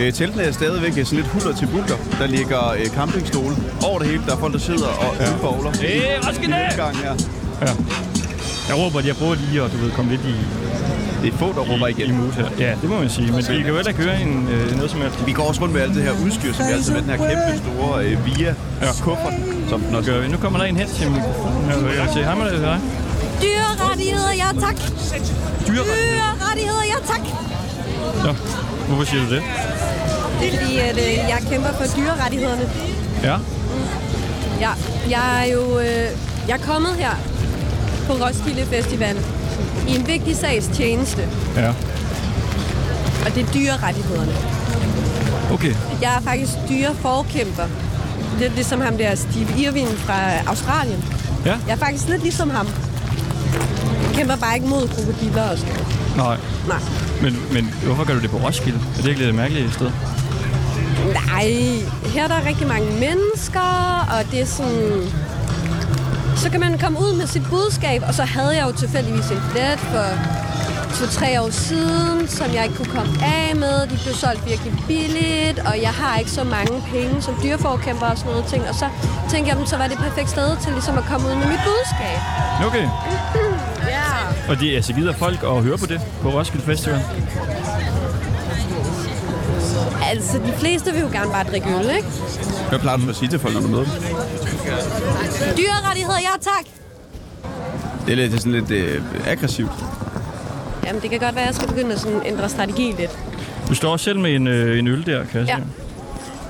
Øh, teltene er stadigvæk sådan lidt huller til bulter. Der ligger øh, campingstole over det hele. Der er folk, der sidder og ja. udbowler. Øh, Roskilde! Gang her. Jeg råber, at jeg prøver lige at du ved, komme lidt i, Det er få, der råber i, i igen. mood her. Ja, det må man sige. Men vi kan jo heller ikke høre en, øh, noget som helst. Vi går også rundt med alt det her udstyr, som vi altid med den her kæmpe store øh, via Ja. ja. kuffert, som den også Gør vi. Nu kommer der en hen til mikrofonen. her, vil Jeg vil sige, hej med dig. Dyrerettigheder, ja tak. Dyr. Dyrerettigheder, ja tak. Nå, hvorfor siger du det? Det er fordi, at øh, jeg kæmper for dyrerettighederne. Ja. Ja, jeg er jo øh, jeg er kommet her på Roskilde Festival i en vigtig sags tjeneste, Ja. og det er dyrerettighederne. Okay. Jeg er faktisk dyreforkæmper. Lidt ligesom ham der Steve Irwin fra Australien. Ja. Jeg er faktisk lidt ligesom ham. Jeg kæmper bare ikke mod krokodiller og sådan noget. Nej. Nej. Men, men hvorfor gør du det på Roskilde? Er det ikke lidt et mærkeligt sted? Nej, her er der rigtig mange mennesker, og det er sådan... Så kan man komme ud med sit budskab, og så havde jeg jo tilfældigvis en billet for to-tre år siden, som jeg ikke kunne komme af med. De blev solgt virkelig billigt, og jeg har ikke så mange penge som dyreforkæmper og sådan noget ting. Og så tænkte jeg, "Jamen, så var det et perfekt sted til ligesom at komme ud med mit budskab. Okay. Ja. Og det er altså gider folk at høre på det på Roskilde Festival? Altså, de fleste vil jo gerne bare drikke øl, ikke? Hvad plejer du at sige til folk, når du møder dem? Dyrerettigheder, ja tak! Det er, lidt, det er sådan lidt øh, aggressivt. Jamen, det kan godt være, at jeg skal begynde at sådan ændre strategi lidt. Du står også selv med en, øh, en øl der, kan jeg Ja. se.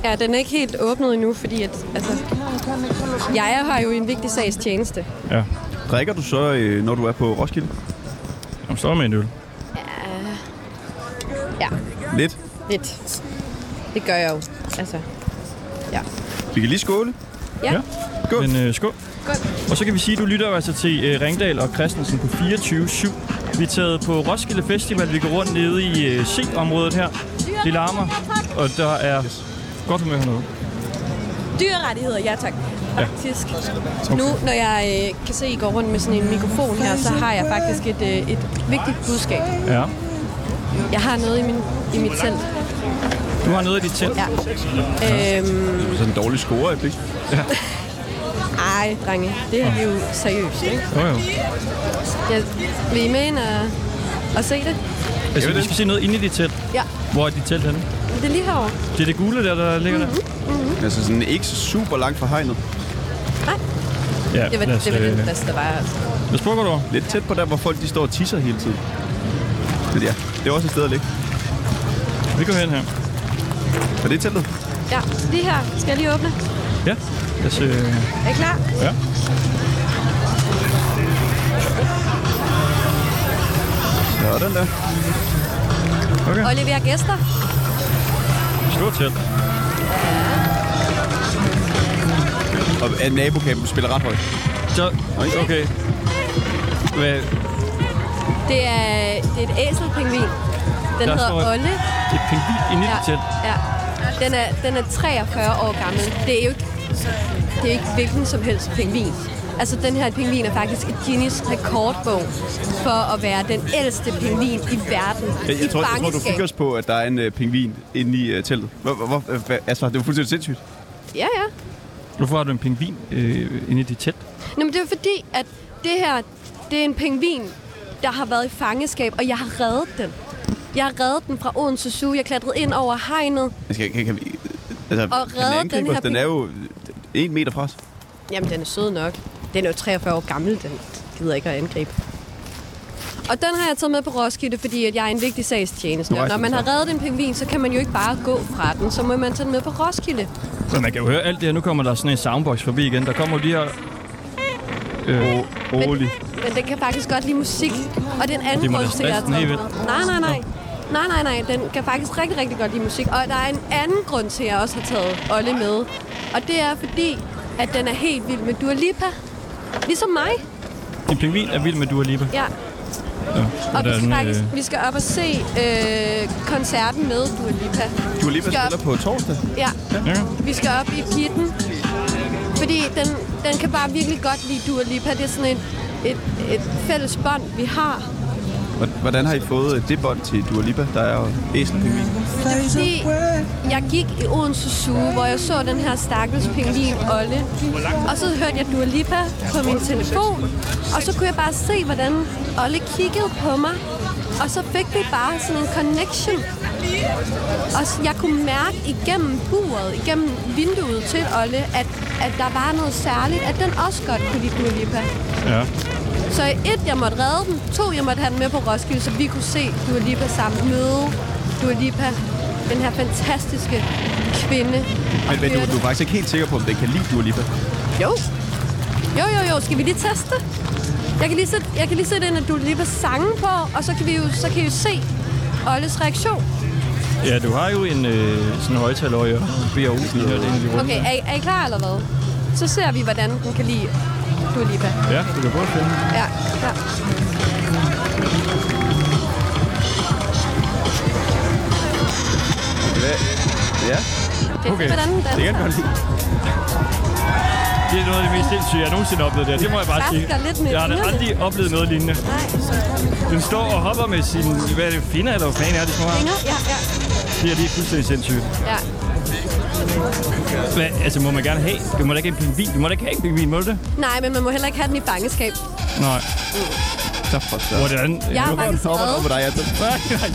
Ja, den er ikke helt åbnet endnu, fordi at, altså, jeg er her jo i en vigtig sags tjeneste. ja. Drikker du så, øh, når du er på Roskilde? Du står med en øl. Ja, Lidt. lidt. Det gør jeg jo. Altså, ja. Vi kan lige skåle. Ja. Ja, ja. Skål. Men øh, skål. Og så kan vi sige, at du lytter jo altså til øh, Ringdal og Christensen på 24-7. Vi er taget på Roskilde Festival. Vi går rundt nede i øh, C-området her. Det larmer, og der er godt humør hernede. Dyrerettigheder, ja tak. Faktisk. Nu, når jeg øh, kan se, at I går rundt med sådan en mikrofon her, så har jeg faktisk et, øh, et vigtigt budskab. Ja. Jeg har noget i, min, i mit telt. Du har noget af dit telt. Ja. Øhm, Det er sådan en dårlig score, jeg fik. ej, drenge, det her det er jo seriøst, ikke? Jo, jo. Jeg, vil I med ind og, og se det? Altså, vi skal se noget inde i dit telt. Ja, Hvor er dit telt henne? det er lige herovre. Det er det gule der, der ligger Mhm. mm-hmm. Altså sådan ikke så super langt fra hegnet. Nej, der? Ja, det var lad os, det, var øh, det bedste, der var. Altså. Hvad spurgte du over? Lidt tæt på der, hvor folk de står og tisser hele tiden. Men ja, det er også et sted at ligge. Vi går hen her. Er det teltet? Ja, lige her. Skal jeg lige åbne? Ja. Lad os, øh, Er I klar? Ja. Sådan der. Og leverer gæster. stort telt. Og at nabokampen spiller ret højt. Så, okay. Hvad, Det er, det er et æselpingvin. Den Der hedder står- Olle. det er pingvin inde i Ja, dit telt. ja. Den er, den er 43 år gammel. Det er jo ikke, det er jo ikke hvilken som helst pingvin. Altså, den her pingvin er faktisk et Guinness rekordbog for at være den ældste pingvin i verden. Jeg, jeg, I tror, jeg tror, du fangeskab. fik os på, at der er en øh, pingvin inde i øh, teltet. Hvor, hvor, hvor, hvad- altså, det var fuldstændig sindssygt. Ja, ja. Hvorfor har du en pingvin øh, inde i dit telt? Nå, men det er fordi, at det her, det er en pingvin, der har været i fangeskab, og jeg har reddet den. Jeg har reddet den fra Odense Zoo. Jeg klatrede ind over hegnet. Altså, kan, kan, kan vi, altså, Og kan den redde angribe den her os? Den ping- er jo en meter fra os. Jamen, den er sød nok. Den er jo 43 år gammel, den gider ikke at angribe. Og den har jeg taget med på Roskilde, fordi at jeg er en vigtig sagstjeneste. Nu Og rejser når den man sig. har reddet en pingvin, så kan man jo ikke bare gå fra den. Så må man tage den med på Roskilde. Men man kan jo høre alt det her. Nu kommer der sådan en soundbox forbi igen. Der kommer jo de her... Øh, Rolig. Men den kan faktisk godt lide musik. Og den Det anden må da grund til, at jeg har stresse den taget helt den med- Nej, nej, nej. Nej, nej, nej. Den kan faktisk rigtig, rigtig godt lide musik. Og der er en anden grund til, at jeg også har taget Olle med. Og det er fordi, at den er helt vild med Dua Lipa. Ligesom mig. din pingvin er vild med Dua Lipa. Ja. Ja. Og vi skal, den, faktisk, vi skal op og se øh, koncerten med Dua Lipa. Du lige Vi skal spiller op, på torsdag. ja, ja. vi skal op i pitten. Fordi den, den kan bare virkelig godt lide Dua Lipa. Det er sådan et, et, et fælles bånd, vi har. Hvor- Hvordan har I fået øh, det bånd til Dua Lipa? Der er jo æselpingvin. Fordi jeg gik i Odense Zoo, hvor jeg så den her stakkels pingvin Olle. Og så hørte jeg Dua Lipa på min telefon. Og så kunne jeg bare se, hvordan Olle kiggede på mig. Og så fik vi bare sådan en connection. Og s- jeg kunne mærke igennem buret, igennem vinduet til Olle, at, at der var noget særligt, at den også godt kunne lide Dua Lipa. ja. Så et, jeg måtte redde dem. To, jeg måtte have dem med på Roskilde, så vi kunne se Dua Lipa sammen. Møde Dua Lipa, den her fantastiske kvinde. og Men, men du, høre du det. er faktisk ikke helt sikker på, om den kan lide Dua Lipa. Jo. Jo, jo, jo. Skal vi lige teste? Jeg kan lige sætte, jeg kan lige sætte en af Dua Lipas sange på, og så kan vi jo, så kan I jo se Olles reaktion. ja, du har jo en øh, sådan højtaler i ørerne. BAU, vi hører det egentlig rundt. Okay, er, I- er I klar eller hvad? Så ser vi, hvordan den kan lide Dua Lipa. Ja, du kan prøve at finde. den. Ja, ja. Hvad? Ja, Det, okay. Hvordan den det kan den danser. godt lide. Det er noget af det mest sindssyge, jeg nogensinde har oplevet der. Det må jeg bare sige. Klasker lidt med Jeg har da fingrene. aldrig oplevet noget lignende. Nej, Den står og hopper med sin... Hvad er det? Finder eller hvad fanden er det, som har? fingre. Ja, ja, Det er lige fuldstændig sindssygt. ja. Hvad, altså, må man gerne have? Du må da ikke have en pingvin. Du må da ikke have en pingvin, må du det? Nej, men man må heller ikke have den i fangeskab. Nej. Så for så. Hvordan? Jeg har faktisk Hopper den reddet over på dig, Anton? Nej, nej.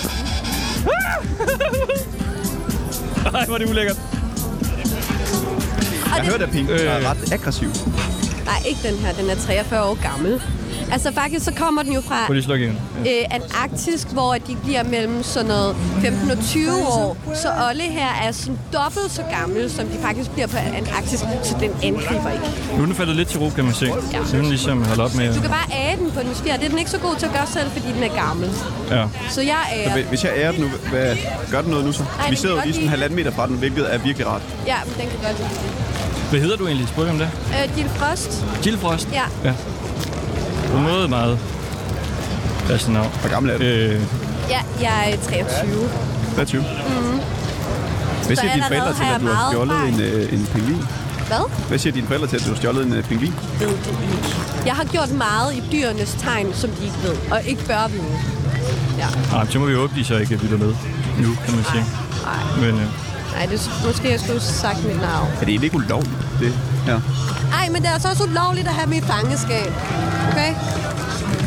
Ah! Ej, hvor er det ulækkert. Og Jeg det- hørte, at pingvin Øh. er ret aggressiv. Nej, ikke den her. Den er 43 år gammel. Altså faktisk, så kommer den jo fra Prøv lige at slukke igen. øh, Antarktisk, hvor de bliver mellem sådan noget 15 og 20 år. Så Olle her er sådan dobbelt så gammel, som de faktisk bliver på Antarktis, så den angriber ikke. Nu er den faldet lidt til ro, kan man se. Ja. Så den ligesom holdt op med... Du kan bare æde den på den spire. Det er den ikke så god til at gøre selv, fordi den er gammel. Ja. Så jeg ærer. den. Hvis jeg ærer den nu, hvad, gør den noget nu så? Vi den sidder jo lige kan godt sådan lide- halvanden meter fra den, hvilket er virkelig rart. Ja, men den kan godt lide. Hvad hedder du egentlig? Spurgte om det? Øh, Jill Frost. Jill Frost? Ja. ja. Du er noget meget... Passende navn. Hvor gammel er den? Øh, Ja, jeg er 23. 23. Hvad Mm-hmm. Så siger dine allerede forældre til, har at jeg du har meget stjålet en, øh, en pingvin? Hvad? Hvad siger dine forældre til, at du har stjålet en øh, pingvin? Jeg har gjort meget i dyrenes tegn, som de ikke ved, og ikke bør vide. Ja. nej, så må vi jo håbe, de så ikke lytter med nu, kan man sige. Nej. Men øh, Nej, det er, måske jeg skulle have sagt mit navn. Er det egentlig ikke ulovligt, det her? Ej, men det er altså også ulovligt at have mit fangeskab. Okay?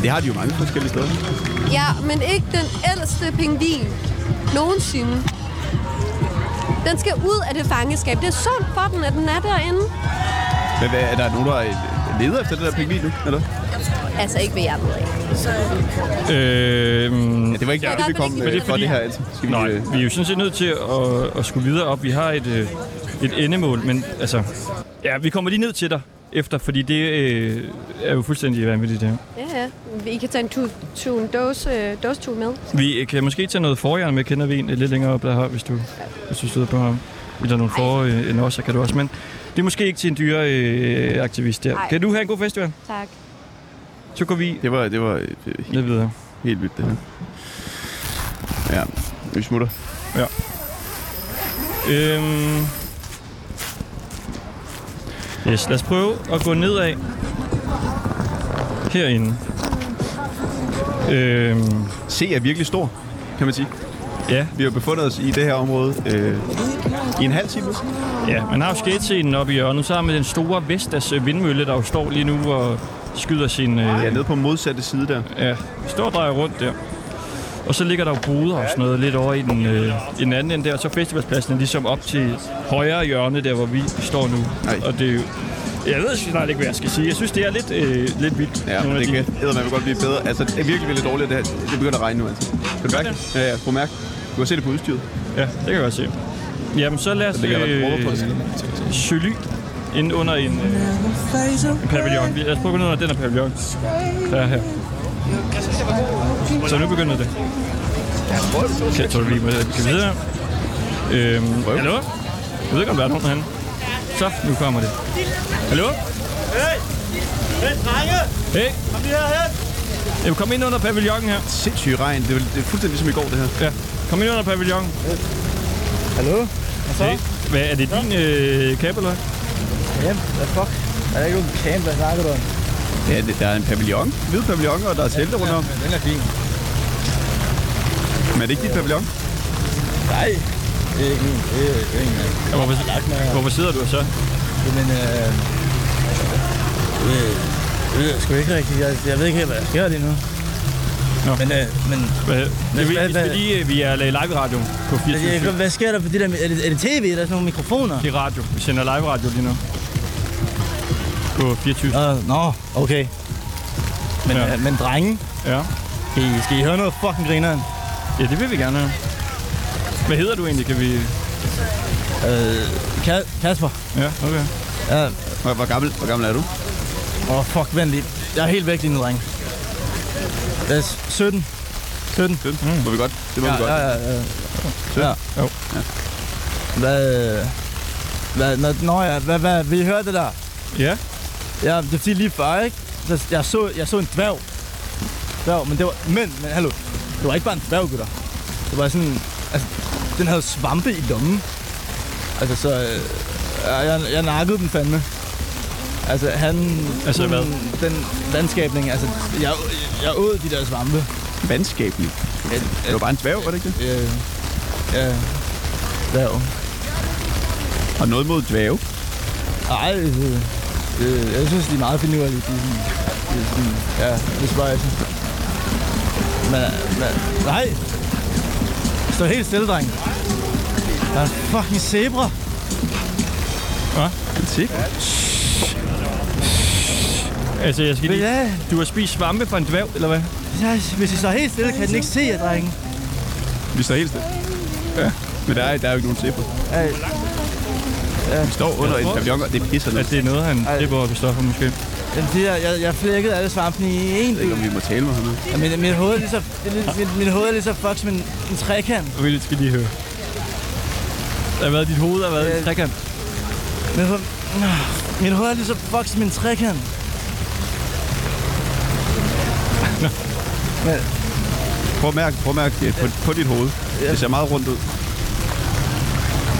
Det har de jo mange forskellige steder. Ja, men ikke den ældste pingvin nogensinde. Den skal ud af det fangeskab. Det er sundt for den, at den er derinde. Men hvad, er der nogen, der øh, leder efter den der pingvin nu? Eller? Altså ikke ved jeg ved af. Øh, Ja, det var ikke Ja. ja, det, vi kom Men med det er det, for fordi- det her. Altså. Skal vi, nej, øh, vi er jo sådan set nødt til at, at skulle videre op. Vi har et, øh, et endemål, men altså... Ja, vi kommer lige ned til dig efter, fordi det øh, er jo fuldstændig vanvittigt, det her. Ja, ja. Vi kan tage en tu, tu, en dåse, øh, dåsetue med. Vi øh, kan måske tage noget forjern med kendervin lidt længere op derher, hvis du, hvis du støder på ham. Eller nogle for øh, en også, kan du også. Men det er måske ikke til en dyre øh, aktivist der. Ej. Kan du have en god festival? Tak. Så går vi det var, det var øh, helt, ned videre. helt vildt, det her. Ja, vi smutter. Øhm. Yes, lad os prøve at gå nedad herinde. Øhm, C er virkelig stor, kan man sige. ja, Vi har befundet os i det her område øh, i en halv time. ja, man har jo skatescenen oppe i hjørnet, sammen med den store Vestas øh, vindmølle, der jo står lige nu og skyder sin... Øh, Ja, nede på modsatte side der. Ja, står og drejer rundt der. Og så ligger der jo boder og sådan noget lidt over i den, øh, i den anden ende der. Og så festivalspladsen er ligesom op til højre hjørne der, hvor vi står nu. Ej. Og det er jo... Jeg ved snart ikke, hvad jeg skal sige. Jeg synes, det er lidt, øh, lidt vildt. Ja, nogle af det de- kan man vil godt blive bedre. Altså, det er virkelig, virkelig dårligt, det her. Det begynder at regne nu, altså. Kan du mærke det? Ja, ja, prøv at mærke. Du kan se det på udstyret. Ja, det kan jeg godt se. Jamen, så lad os Der ligger øh, øh, der dråber på det. søge ly ind under en, øh, en pavillon. Vi- Lad os prøve at gå ned under den her pavillon. Der er her. Så nu begynder det. Okay, jeg tror, vi må vi skal videre. Øhm, hallo? Jeg ved ikke, om der er nogen herinde. Så, nu kommer det. Hallo? Hey! Hey, drenge! Hey! Kom lige herhen! Jamen, kom ind under pavillonen her. Sindssygt regn. Det er, det er fuldstændig ligesom i går, det her. Ja, kom ind under pavillonen. Hallo? Hvad så? Hey. Hvad, er det din øh, kæbe, eller hvad? Jamen, hvad fuck? Er der ikke nogen camp, hvad snakker du om? Ja, det, der er en pavillon. Hvid pavillon, og der er telte rundt om. Den er fin. Men er det ikke dit pavillon? Nej. Det er ikke min. Det er ikke min. mand. Ja, Hvorfor, hvorfor sidder du her så? Jamen, øh... øh, Det ved jeg sgu ikke rigtigt. Jeg, jeg ved ikke helt, hvad der sker lige nu. Nå. Men, øh, men Hvad, det, vi, hvad- vi skal hvad- lige, øh, vi er live i radio på jeg, jeg, 24. hvad sker der på det der... Er det, er det tv? Er der sådan nogle mikrofoner? Det er radio. Vi sender live radio lige nu. På 24. Uh, nå, okay. Men, Ja. ja. øh, men drenge, Ja. skal I, skal I høre noget fucking grineren? ja, det vil vi gerne have. Hvad hedder du egentlig, kan vi... Øh, Ka- Kasper. Ja, okay. Ja. Hvor, hvor, gammel, hvor gammel er du? Åh, oh, fuck, vent lige. Jeg er helt væk lige nu, drenge. Jeg er 17. 17. Mm. Må vi godt? Det må vi godt. Ja, ja, ja. ja. Jo. Hvad... Hvad, nå, nå ja, hvad, hvad, vil I høre det der? Ja. Ja, det er fordi lige før, ikke? Der, jeg, så, jeg så en dværg. Dværg, men det var... Men, men hallo. Det var ikke bare en dværg, gutter. Det var sådan... Altså, den havde svampe i lommen. Altså, så... Øh, ja, jeg, jeg nakkede den fandme. Altså, han... Altså, hun- hvad? Den landskabning, altså... Jeg, jeg åd de der svampe. Vandskabelig. Det var bare en dværg, var det ikke det? Øh, ja... Dværg. Og noget mod dværge. Ej, øh, øh, jeg synes, de er meget finurlige. De er sådan, de er sådan, ja, det er spøjt. Men, men, nej. Stå helt stille, dreng. Der er en fucking zebra. En zebra. Altså, jeg skal lige... Ja, Du har spist svampe fra en dværg, eller hvad? ja, hvis I står helt stille, kan den ikke se jer, drenge. Vi står helt stille. Ja. Men der er, der er jo ikke nogen zebra. Ej, Vi står under en pavillon, og det pisser ned. At det er noget, han Ej. slipper op i stoffer, måske. jamen, de her, jeg, jeg flækkede alle svampene i en Jeg ved ikke, bid. om vi må tale med ham nu. Ja, Min, min, hoved er lige så, det er lidt- min, min hoved er lige så fucked som en, en trekant. Og vi skal lige høre. Der har været dit hoved, der har været Ja. en trekant. Min, hoved- min hoved er lige så fucked som en trekant. Prøv at mærke, prøv at mærke det på, på dit hoved. Det ser meget rundt ud.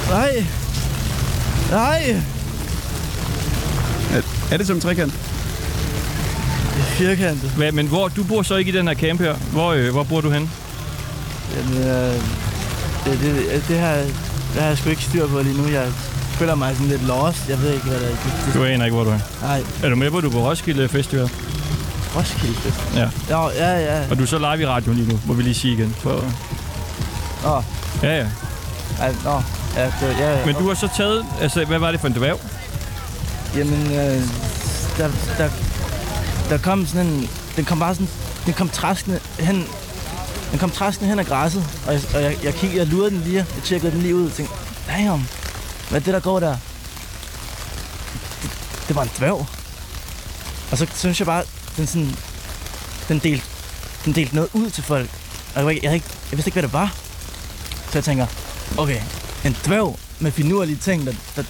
Nej. Nej. Er, er det som en trekant? Firkantet. Hvad, men hvor, du bor så ikke i den her camp her. Hvor, øh, hvor bor du hen? Jamen, øh, det, det, det, her, det har jeg sgu ikke styr på lige nu. Jeg føler mig sådan lidt lost. Jeg ved ikke, hvad der er. Det, det, Du aner ikke, hvor du er. nej, Er du med på, at du er på Roskilde Festival? Roskilde Fest. Ja. Ja, ja, ja. Og du er så live i radioen lige nu, må vi lige sige igen. For... Nå. Ja, ja. Ej, nå. Ja, det, ja, ja. Men du har så taget... Altså, hvad var det for en dværg? Jamen, øh, der, der, der kom sådan en... Den kom bare sådan... Den kom træskende hen... Den kom træskende hen ad græsset, og jeg, og jeg, jeg, kiggede, jeg lurede den lige, jeg tjekkede den lige ud, og tænkte, damn, hvad er det, der går der? Det, det var en dværg. Og så synes jeg bare, den sådan... Den delte, den delte noget ud til folk. Og jeg, var ikke- jeg, havde ikke, jeg vidste ikke, hvad det var. Så jeg tænker, okay, en dværg med finurlige ting, der, der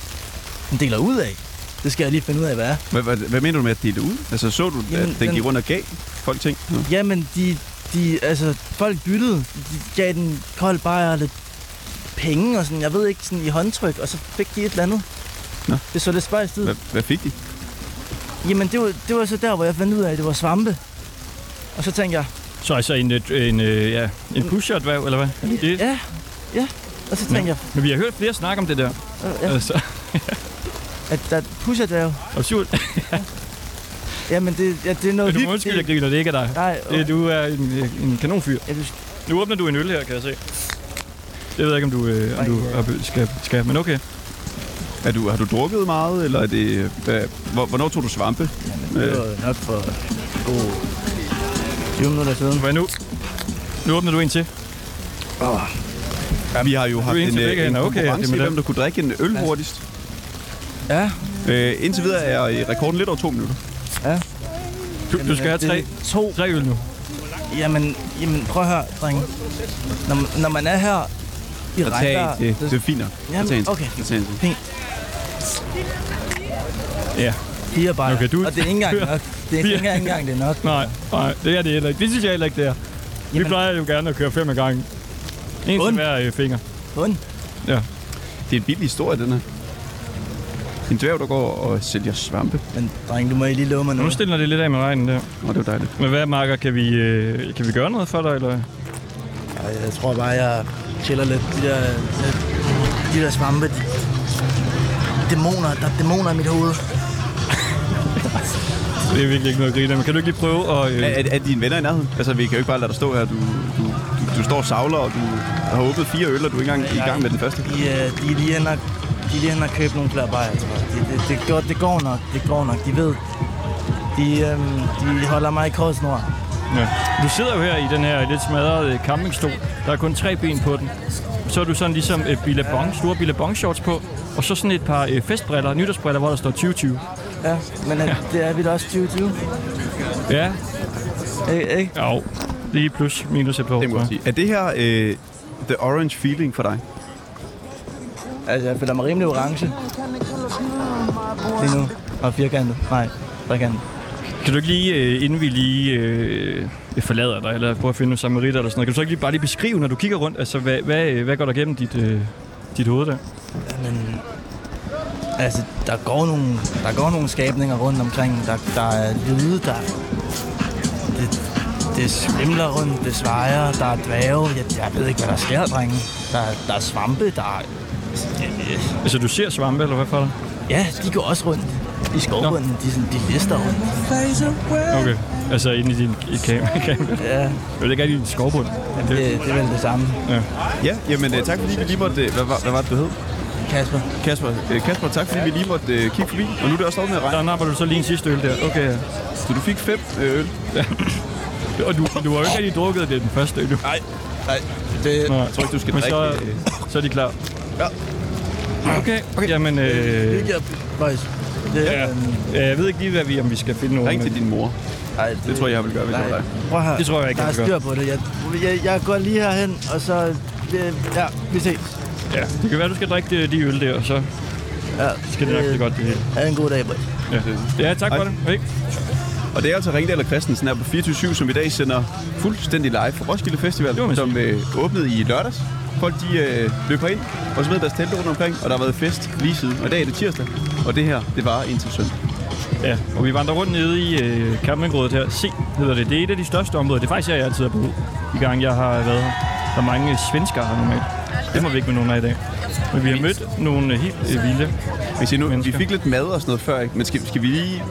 den deler ud af. Det skal jeg lige finde ud af, hvad er. Hvad, hvad, hvad mener du med at dele det ud? Altså, så du, Jamen, Jamen, at den den- gik rundt og gav folk ting? Nå. Jamen, de, de, altså, folk byttede. De gav den kold bajer og lidt penge og sådan, jeg ved ikke, sådan i håndtryk, og så fik de et eller andet. Nå. Det så lidt spøjst ud. Hvad, hvad fik de? Jamen, det var, det var så der, hvor jeg fandt ud af, at det var svampe. Og så tænkte jeg, Så altså en, øh, en, øh, ja, en pusher-dværg, eller hvad? Det, ja, ja. Og så tænkte jeg, Men vi har hørt flere snakke om det der. øh, ja, Altså, at der pusher der jo. absurd. Jamen, det, ja, det er noget Du må undskylde, jeg griner, det er ikke er dig. Nej, Det, du er en, øh, en kanonfyr. jeg, vil- Nu åbner du en øl her, kan jeg se. Jeg ved ikke, om du, øh, om Nej, du ja. op- skal, skal, men okay. Er du, har du drukket meget, eller er det... Hvad, hvor, hvornår tog du svampe? det var nok for god 20 minutter siden. Hvad nu? Nu åbner du en til. Vi har jo haft en en, til øh, begge en hænder. Okay, konkurrence det i, er med hvem der kunne drikke en øl hurtigst. Ja, Øh, indtil videre er øh, rekorden lidt over to minutter. Du, du skal have det- tre, To tre øl nu. Jamen, jamen prøv at høre, drenge. Når, man- når man er her i Og tage regnvejr... en til. øh, Det er fint nok. Og Jamen, tage en til. okay. Og tage en til. Ja. Fire bajer, Okay, du- og det er ikke engang nok. Det Fire. er ikke engang, ikke engang det er nok. Nej, nej, det er det heller ikke. Det synes jeg heller ikke, det er. Vi Jamen. plejer jo gerne at køre fem af gangen. En til Und. hver øh, finger. Hun, Det er en vild historie, den her. En dværg, der går og sælger svampe. men drenge, du må I lige love mig Nu noget. stiller det lidt af med regnen der. Åh, det var dejligt. Men hvad, Marker, kan vi, øh, kan vi gøre noget for dig, eller? Ej, Jeg tror bare, jeg chiller lidt. De der, de der svampe, de, dæmoner, der er dæmoner i mit hoved. Det er virkelig ikke noget at grine af, men kan du ikke lige prøve at... Øh, Er, er, er dine venner i nærheden? Altså, vi kan jo ikke bare lade dig stå her. Du, du, du, du står og savler, og du har åbnet fire øl, og du er ikke engang i gang med den første. De, øh, de er lige hen og, de er lige hen og købe nogle flere bajer, tror jeg. Det, det, det, går, det går nok, det går nok. De ved, de, øhm, de holder mig i kortsnor. ja. Du sidder jo her i den her lidt smadrede øh, campingstol. Der er kun tre ben på den. Så er du sådan ligesom øh, billabong, store billabong-shorts på. Og så sådan et par øh, festbriller, nytårsbriller, hvor der står 2020. Ja, men øh, det er vi da også 2020. Ja, Ikke? ikke? jo. Lige plus minus et par år. Det må jeg sige. Er det her øh, the orange feeling for dig? Altså, jeg føler mig rimelig orange. Lige nu. Og firkantet. Nej, trekantet. Kan du ikke lige, øh, inden vi lige øh, forlader dig, eller prøver at finde nogle samaritter eller sådan noget, kan du så ikke lige bare lige beskrive, når du kigger rundt, altså hvad, hvad, øh, hvad går der gennem dit, øh, dit hoved der? Men... Altså, der går nogle, der går nogle skabninger rundt omkring. Der, der er lyde, der... Det, det svimler rundt, det svejer, der er dvæve. Jeg, jeg ved ikke, hvad der sker, drenge. Der, der er svampe, der er... Altså du ser svampe, eller hvad for dig? Ja, de går også rundt i skovbunden. De, er sådan, de lister rundt. Okay. Altså inde i din i kamera. kamera. Ja, Det er ikke rigtig din skovbund. det, det er vel det samme. Ja, jamen øh, tak fordi vi lige måtte... Øh, hvad, var- hvad var det, du hed? Kasper, Kasper, øh, Kasper tak fordi vi lige måtte øh, kigge forbi. Og nu er det også stoppet med at regne. Der napper du så lige en sidste øl der. Okay. ja. Så du fik fem øh, øl. Og du, du har jo ikke rigtig drukket det den første øl. Nej, Det, Nej. jeg tror ikke, du skal men drikke... så, øh, så er de klar. Ja. Okay, okay. jamen øh, hygge jer, boys. Øhm, Det, ja. Øh, jeg ved ikke lige, hvad vi, om vi skal finde nogen. Ring men- til din mor. Ej, Det tror jeg, jeg vil gøre, hvis det var Nej, dig. prøv at høre. Det tror jeg ikke, Der er jeg vil gøre. styr på det. Jeg, jeg, jeg går lige herhen, og så... Det, ja, vi ses. Ja, det kan være, du skal drikke de, de øl der, og så Ja, skal det nok blive godt det hele. Ha' en god dag, boys. Ja, ja tak for Hej. det. Hej. Og det er altså Ringdal og Christensen her på 24 som i dag sender fuldstændig live fra Roskilde Det må Festival, man som øh, åbnede i lørdags. Folk de øh, løber ind og smider deres telt rundt omkring, og der har været fest lige siden. Og i dag er det tirsdag, og det her, det var indtil søndag. Ja, og vi vandrer rundt nede i øh, campingrådet her. Se, hedder det. Det er et af de største områder. Det er faktisk her, jeg altid er på ud. De gange, jeg har været her. Der er mange øh, svenskere her normalt. Det må vi ikke med nogen af i dag. Men vi har mødt nogle øh, helt øh, vilde. Hvis I nu, vi Mennesker. fik lidt mad og sådan noget før, ikke? men skal, skal vi lige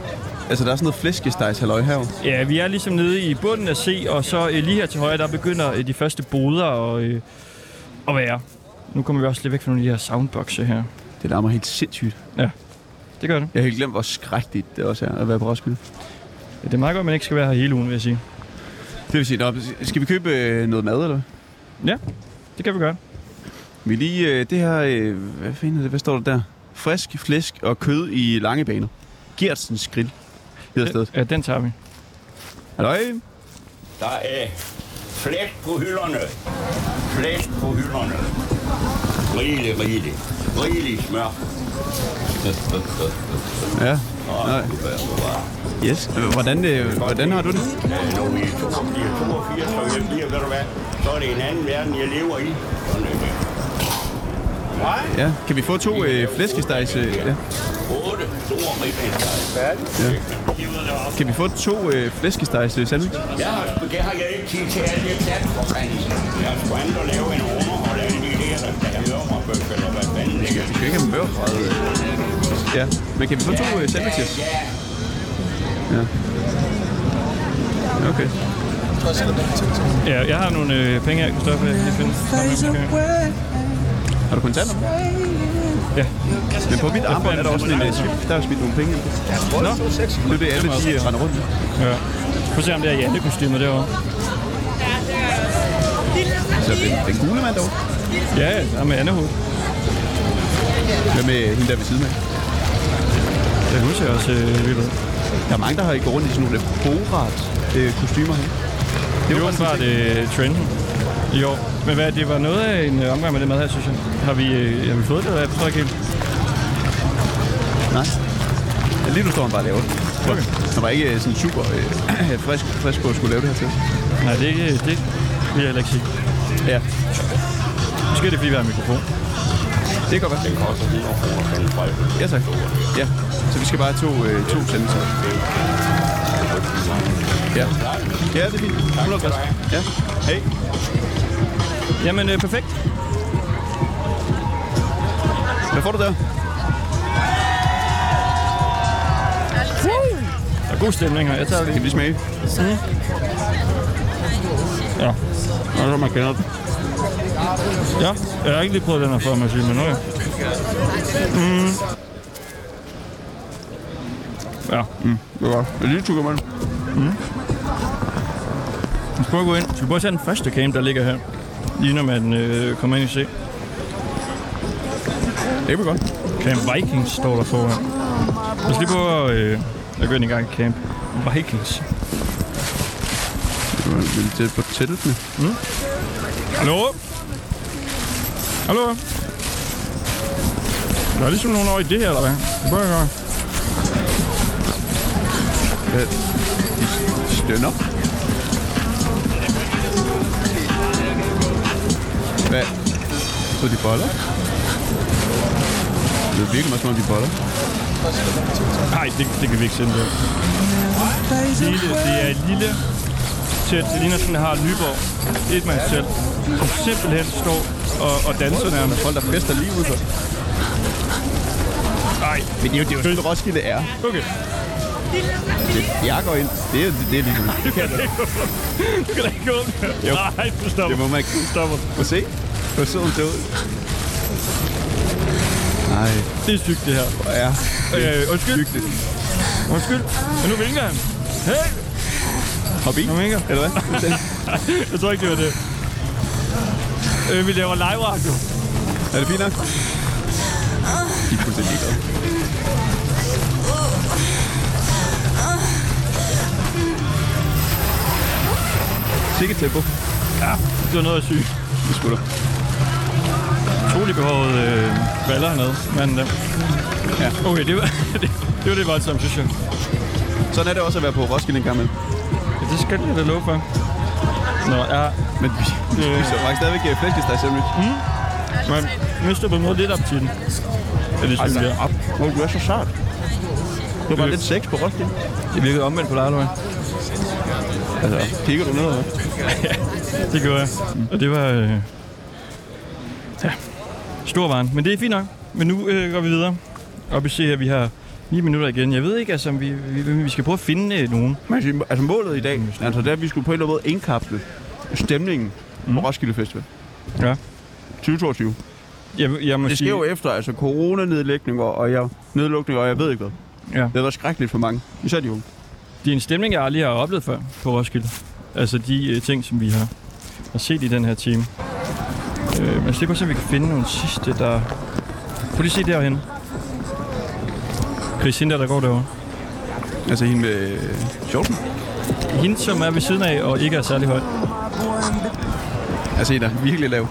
Altså, der er sådan noget flæskestegs halløj her. jo. Ja, vi er ligesom nede i bunden af C, og så øh, lige her til højre, der begynder øh, de første boder og, øh, at være. Nu kommer vi også lidt væk fra nogle af de her soundboxe her. Det larmer helt sindssygt. Det gør det. Jeg har helt glemt, hvor skræktigt det også er at være på Roskilde. Ja, det er meget godt, at man ikke skal være her hele ugen, vil jeg sige. Det vil sige, nå, skal vi købe øh, noget mad, eller hvad? Det kan vi gøre. Vi er lige øh, det her, øh, hvad fanden er det, hvad står der der? Frisk flæsk og kød i lange baner. Gertsens Grill hedder stedet. Ja, den tager vi. Halløj. Der er flæsk på hylderne. Flæsk på hylderne. Rigelig, rigelig. Rigelig smør. Ja. Nej. Yes. Hvordan, øh, hvordan har du det? Øh, Nu er vi 82, og jeg bliver, ved du hvad, så er det en anden verden, jeg lever i. Sådan er det. Nej, Ja. Kan vi få to øh, flæskestegs? Øh, ja. otte store ribben. Kan vi få to øh, flæskestegs øh, sandwich? Jeg har, det har jeg ikke tid til at det er plat for fanden. Jeg skulle andet at lave en rummer, og lave de der, der er lømmerbøf, eller hvad fanden det er. Vi skal ikke have mørk. Ja. Men kan vi få to øh, sandwiches? Ja, Ja, Okay. Ja, jeg har nogle øh, penge her, Kristoffer. Jeg kan lige finde. Har du kontanter? Ja. Men på mit armbånd er der også en øh, chip. Der er smidt nogle penge ind. Nå, det er det, alle de øh, render rundt med. ja. Prøv at se, om det er Jante-kostymer derovre. Så Altså, den, den gule mand dog. Ja, ja, der er med Annehoved. Hvad med hende der ved siden af? Ja, hun ser også øh, vild ud. Der er mange, der har ikke gået rundt i sådan nogle lidt borat øh, kostymer her. Det var åbenbart øh, trenden i år. Men hvad, det var noget af en øh, omgang med det mad her, synes jeg. Har vi, øh, har vi fået det, eller hvad? jeg forstår ikke helt? Nej. Ja, lige nu står han bare og laver det. Okay. Han var ikke øh, sådan super øh, frisk, frisk på at skulle lave det her til. Nej, det, er ikke, det vil jeg heller ikke sige. Ja, Måske er det fordi, vi har en mikrofon. det kan godt være. Den koster 100 kroner Ja, tak. Ja, så vi skal bare have to, øh, to sendelser. Ja. ja, det er fint. 150. Ja. Hey. Jamen, øh, perfekt. Hvad får du der? Der er god stemning her. Jeg tager lige. Mm. Kan vi smage? Ja. Nå, så man kender det. ja. Jeg har ikke lige prøvet den her før, må jeg sige, men Mm. nu ja. Mm. Ja, Det var godt. En lille tukker, mand. vi skal prøve at gå ind. Skal vi prøve at tage den første camp, der ligger her? Lige når man øh, kommer ind i se. Det var godt. Camp Vikings står der foran. Lad os lige prøve at, øh, at gå ind i gang i Camp Vikings. Det var lidt tæt på teltene. Hallo? Hallo? Der er ligesom nogen over i det her, eller hvad? Det bør jeg gøre. Ja, de stønner. Hvad? Så de boller? Det er virkelig meget som om de boller. Nej, det, det kan vi ikke sende det. Lille, det er et lille telt. Det ligner sådan, det har Nyborg. Et mands telt. Som simpelthen står og, og danser nærmest. Folk, der fester lige udenfor. Nej, Men det er jo, det er jo sådan, Roskilde er. okay. Jeg går ind. Det er, det, det er ligesom... Du kan da ikke gå. Du kan da ikke gå. Nej, du stopper. Det må man ikke. Du stopper. Må se. Hvor sidder hun ud. Nej, Det er sygt, det her. hvor er det Øh, undskyld. hyggeligt. Undskyld. Men nu vinker han. Hey! Hop i, Nu vinker. eller hvad? Jeg tror ikke, det var det. Øh, vi laver live radio. Er det fint nok? De er fuldstændig ligeglade. Sikkert tempo. Det var noget af sygt. Vi skulle. Utrolig behovet øh, baller hernede. Manden der. Ja. øh, Okay, det var det, det, var det voldsomt, synes jeg. Sådan er det også at være på Roskilde en gang imellem. Ja, det skal jeg da love for. Nå, ja. Men vi, vi Øh. spiser faktisk stadigvæk øh, flæskesteg sandwich. Mm. Man mister på en måde lidt appetitten. Ja, det synes jeg. op. Hvor du er så sart. Altså. Det var bare lidt sex på Roskilde. Det virkede omvendt på dig, eller hvad? Altså, kigger du ned eller hvad? Det gjorde jeg. Og det var... Øh, ja, stor varen. Men det er fint nok. Men nu øh, går vi videre. Op i se her, vi har 9 minutter igen. Jeg ved ikke, altså, om vi, vi, vi skal prøve at finde øh, nogen. Man kan sige, altså målet i dag, altså det er, at vi skulle på en eller anden måde indkapsle stemningen mm. på Roskilde Festival Ja. 2022. Jeg, jeg må Det sker sige, jo efter altså coronanedlægninger og jeg, nedlukninger, og jeg ved ikke hvad. Ja. Det har været skrækkeligt for mange, især de unge. det er en stemning, jeg aldrig har oplevet før på Roskilde. Altså de øh, ting, som vi har, har set i den her time. Øh, men slipper så, vi kan finde nogle sidste, der... Prøv lige at se derhen. Chris Hinder, der går derovre. Altså hende med øh, shorten. Hende, som er ved siden af og ikke er særlig høj. Altså hende er virkelig lav.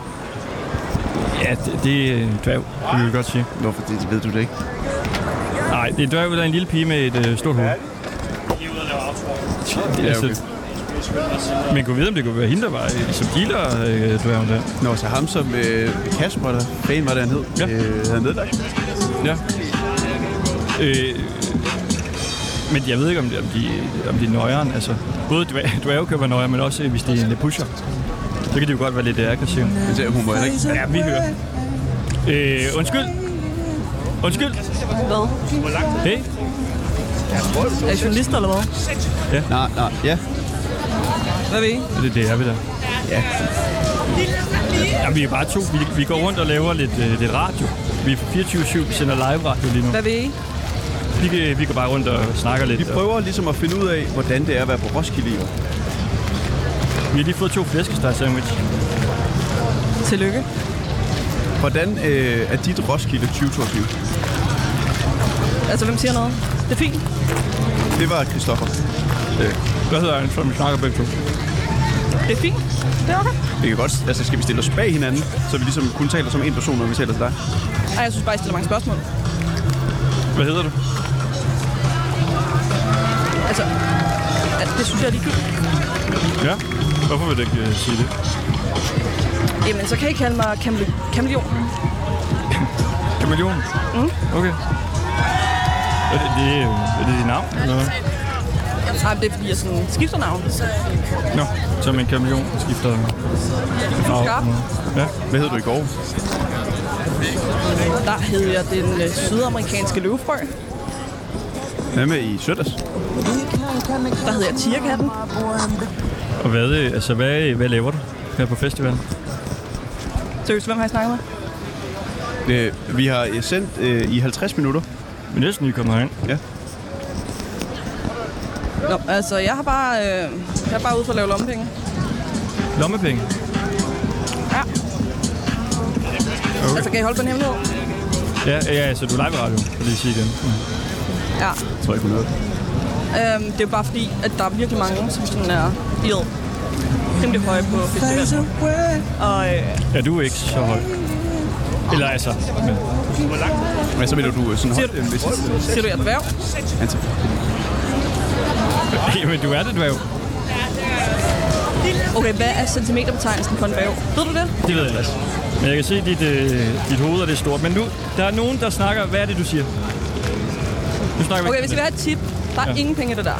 Ja, det, det er en dværg, det vil jeg godt sige. Hvorfor det, ved du det ikke? Nej, det er en dværg, der er en lille pige med et øh, stort hoved. Ja, Altså, okay. Man kunne vide, om det kunne være hende, der var øh, som dealer øh, dværgen der. Nå, så ham som øh, Kasper, der fan var det, han hed, Ja. øh, havde nedlagt. Ja. Øh, men jeg ved ikke, om det, om de, om de er nøjeren. Altså, både dværge, dværge kan være nøjere, men også øh, hvis de er en pusher. Så kan de jo godt være lidt øh, aggressive. Men det er hun var ikke. Ja, vi hører. Øh, undskyld. Undskyld. Hvad? Hey. Er I journalister eller hvad? Nej, nej, ja. Hvad ved I? Det er det, er vi der. Ja. ja. vi er bare to. Vi, vi går rundt og laver lidt, øh, lidt radio. Vi er på 24-7, vi sender live radio lige nu. Hvad ved I? Vi, kan- vi går bare rundt og snakker lidt. Vi prøver ligesom at finde ud af, hvordan det er at være på Roskilde i år. Vi har lige fået to flæskesteg sandwich. Tillykke. Hvordan øh, er dit Roskilde 2022? Altså, hvem siger noget? Det er fint. Det var Christoffer. Hvad hedder han, som vi snakker begge to? Det er fint. Det er okay. Vi kan godt, altså skal vi stille os bag hinanden, så vi ligesom kun taler som en person, når vi taler til dig? Ej, jeg synes bare, I stiller mange spørgsmål. Hvad hedder du? Altså, at det synes jeg er ligegyldigt. Ja. Hvorfor vil du ikke øh, sige det? Jamen, så kan I kalde mig kamele- kameleon. Kameleon. Mm. Okay. Er det, det, øh, er det dit navn? Eller? hvad? Nej, det er fordi, jeg sådan skifter navn. Nå, som en kameleon skifter farve. skarp. mm. Ja. Hvad hed du i går? Der hed jeg den øh, sydamerikanske løvfrø. Hvad med i søndags? Der hed jeg tigerkatten. Og hvad, øh, altså, hvad, hvad laver du her på festivalen? Seriøst, hvem har I snakket med? Øh, vi har øh, sendt øh, i 50 minutter. Vi er næsten lige kommet herind. Nå, altså, jeg har bare, øh, jeg er bare ude for at lave lommepenge. Lommepenge. Ja. Altså, kan I holde på en hemmelighed? Ja, ja, altså, du er live radio, kan jeg lige sige igen. Mm. Ja. Jeg tror ikke, hun nåede. Øhm, det er jo bare fordi, at der er virkelig mange, som sådan er i år. Rimelig høje på festivalen. Og øh, Er du ikke så høj? Eller altså, men, Men så mener du øh, sådan holdt en liste. siger du, jeg er dværg? jamen, du er det, du er jo. Okay, hvad er centimeterbetegnelsen for en dværg? Ved du det? Det ved jeg ikke. Men jeg kan se, at dit, øh, dit hoved er det stort. Men nu, der er nogen, der snakker. Hvad er det, du siger? Nu snakker Okay, vi hvis I vil have et tip, der er Ja. ja. ingen penge i det der.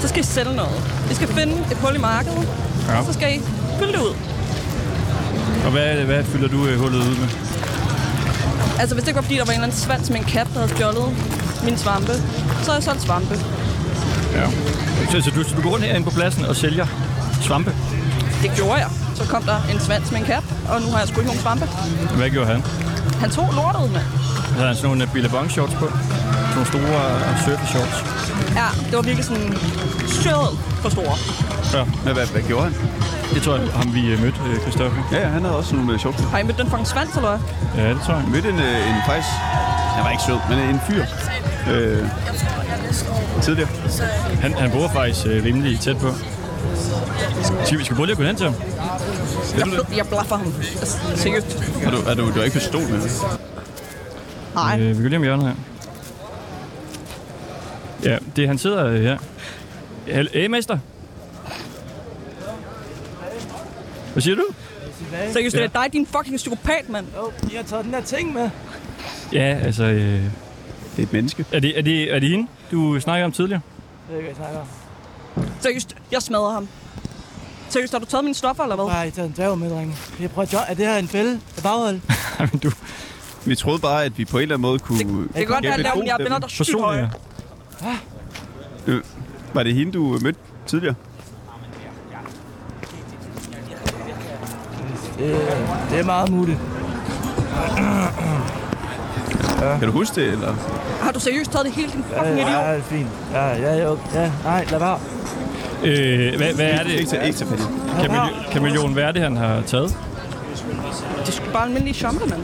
Så skal I sælge noget. I skal finde et hul i markedet, Ja. ja. og så skal I fylde det ud. Og hvad, hvad fylder du øh, hullet ud med? Altså, hvis det ikke var fordi, der var en eller anden svans med en kat, der havde stjålet min svampe, så havde jeg solgt svampe. Ja. Så, så, du, så du går rundt herinde på pladsen og sælger svampe? Det gjorde jeg. Så kom der en svans med en kat, og nu har jeg sgu ikke nogen svampe. Hvad gjorde han? Han tog lortet med. Havde han sådan nogle øh, billabong shorts på? Sådan nogle store øh, surfer shorts. Ja, det var virkelig sådan stjålet for store. Ja, Men hvad, hvad gjorde han? det tror jeg, ham vi øh, mødte, øh, Christoffer. Ja, ja, han havde også nogle øh, sjovt. Har I mødt den fucking svans, eller hvad? Ja, det tror jeg. Mødte en, øh, en faktisk... Han var ikke sød, men en fyr. Øh, tidligere. Han, han bor faktisk øh, rimelig tæt på. Skal vi skal vi prøve lige at gå hen til ham? Jeg, jeg blaffer ham. Altså, seriøst. Er du, er du, du er ikke forstået med det? Nej. Øh, vi går lige om hjørnet her. Ja, det er, han sidder øh, her. Hal- Hey, mester. Hvad siger du? Seriøst, det er dig, din fucking psykopat, mand. Jo, I har taget den der ting med. Ja, altså... Øh, Det er et menneske. er, det, er, det, er det hende, du snakkede om tidligere? Det er ikke, jeg snakker om. Seriøst, jeg smadrer ham. Seriøst, har du taget mine stoffer, eller hvad? Bare, I tager en dværg med, drenge. Jeg prøver at jo- Er det her en fælde? Er baghold? Ej, men du... Vi troede bare, at vi på en eller anden måde kunne... Det, kan godt være, at jeg laver- jeg vender dig sygt høje. Øh, var det hende, du øh, mødte tidligere? Det, det er meget muligt. Ja. Kan du huske det, eller? Har du seriøst taget det hele din Ja, fucking idiot? ja, det er fint. Ja, ja, ja, ja. Nej, lad være. Øh, hvad, hvad er det? Ikke til, ikke til Kamel- Kameleon, hvad er det, han har taget? Det er sgu bare almindelige champer, mand.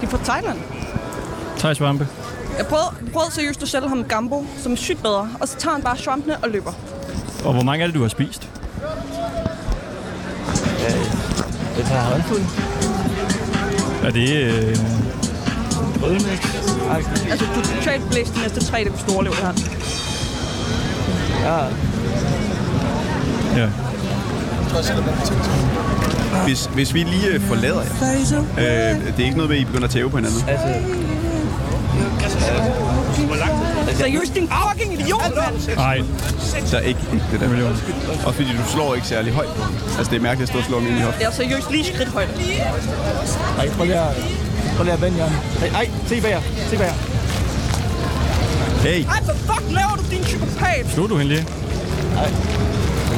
De er fra Thailand. Thaj svampe. Jeg prøvede, prøvede seriøst at sælge ham Gambo, som er sygt bedre, og så tager han bare svampene og løber. Og hvor mange er det, du har spist? Jeg tager håndfuld. Er det... Øh... Rødmæk. Altså, du er totalt blæst de næste tre, det kunne storleve det her. Ja. Ja. Hvis, hvis vi lige øh, forlader jer, øh, det er ikke noget med, at I begynder at tæve på hinanden. Altså, Seriøst, din fucking idiot, mand! Nej. Så ikke, ikke det der. Og fordi du slår ikke særlig højt. Altså, det er mærkeligt at stå og slå mig ind i hoften. Jeg er seriøst lige skridt højt. Ej, prøv lige at, prøv lige at vende jer. Ej, ej, se bag jer. Se bag jer. Hey, Ej, hvad fuck laver du, din psykopat? Slog du hende lige?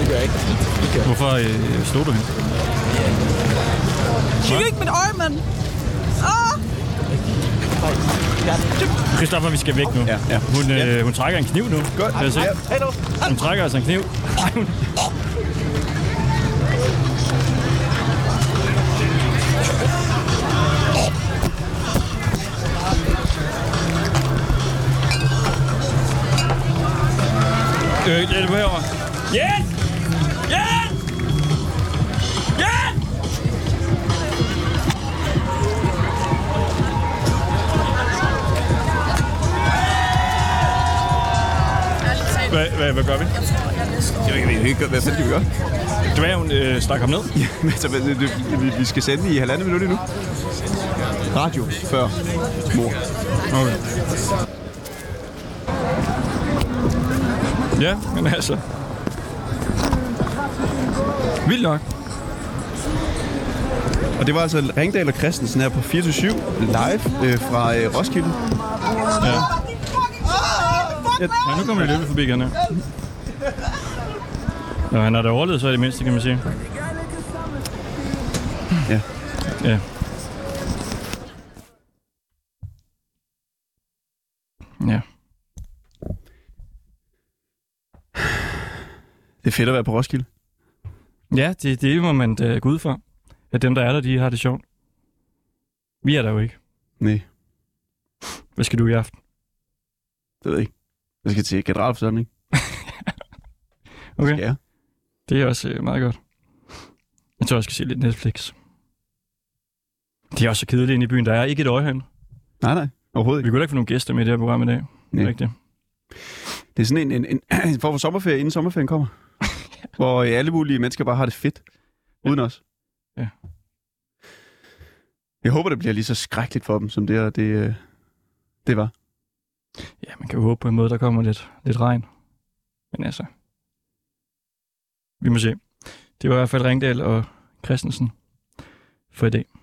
det gør jeg ikke. Hvorfor øh, slog du hende? Kig ikke mit øje, mand! Ah! Christoffer, vi skal væk nu. Ja, ja. Hun, øh, hun trækker en kniv nu. Godt. Kan jeg se? Hey, nu. Hun trækker altså en kniv. Ej, hun- Øh, hjælp herovre. Hjælp! Hjælp! Hjælp! Hvad, hvad, hvad gør vi? jeg ved ikke, hvad- hvad fanden skal vi gøre? Dværgen øh, stak ham ned. Jamen, altså, hvad- det- vi- vi skal sende i halvandet minut endnu. Radio før mor. Okay. Ja, men altså... Vildt nok. Og det var altså Ringdal og Christensen her på 24-7 live øh, fra øh, Roskilde. Ja. ja nu kommer vi løbet forbi igen her. Nå, han har da overlevet så i det mindste, kan man sige. Ja. Ja. Ja. Det er fedt at være på Roskilde. Ja, det, det må man da gå ud fra. At dem, der er der, de har det sjovt. Vi er der jo ikke. Nej, Hvad skal du i aften? det ved jeg ikke. Jeg skal til generalforsamling. Okay. Skal jeg? Det er også øh, meget godt. Jeg tror, jeg skal se lidt Netflix. Det er også så kedeligt inde i byen. Der er ikke et øje herinde. Nej, nej. Overhovedet Vi ikke. kunne da ikke få nogle gæster med i det her program i dag. Nej. Nej. Rigtigt. Det er sådan en, en, en, en form for sommerferie, inden sommerferien kommer. Hvor øh, alle mulige mennesker bare har det fedt. Uden os. Ja. Jeg håber, det bliver lige så skrækkeligt for dem, som det, her, det, øh, det var. Ja, man kan jo håbe på en måde, der kommer lidt, lidt regn. Men altså... Vi må se. Det var i hvert fald Ringdal og Christensen for i dag.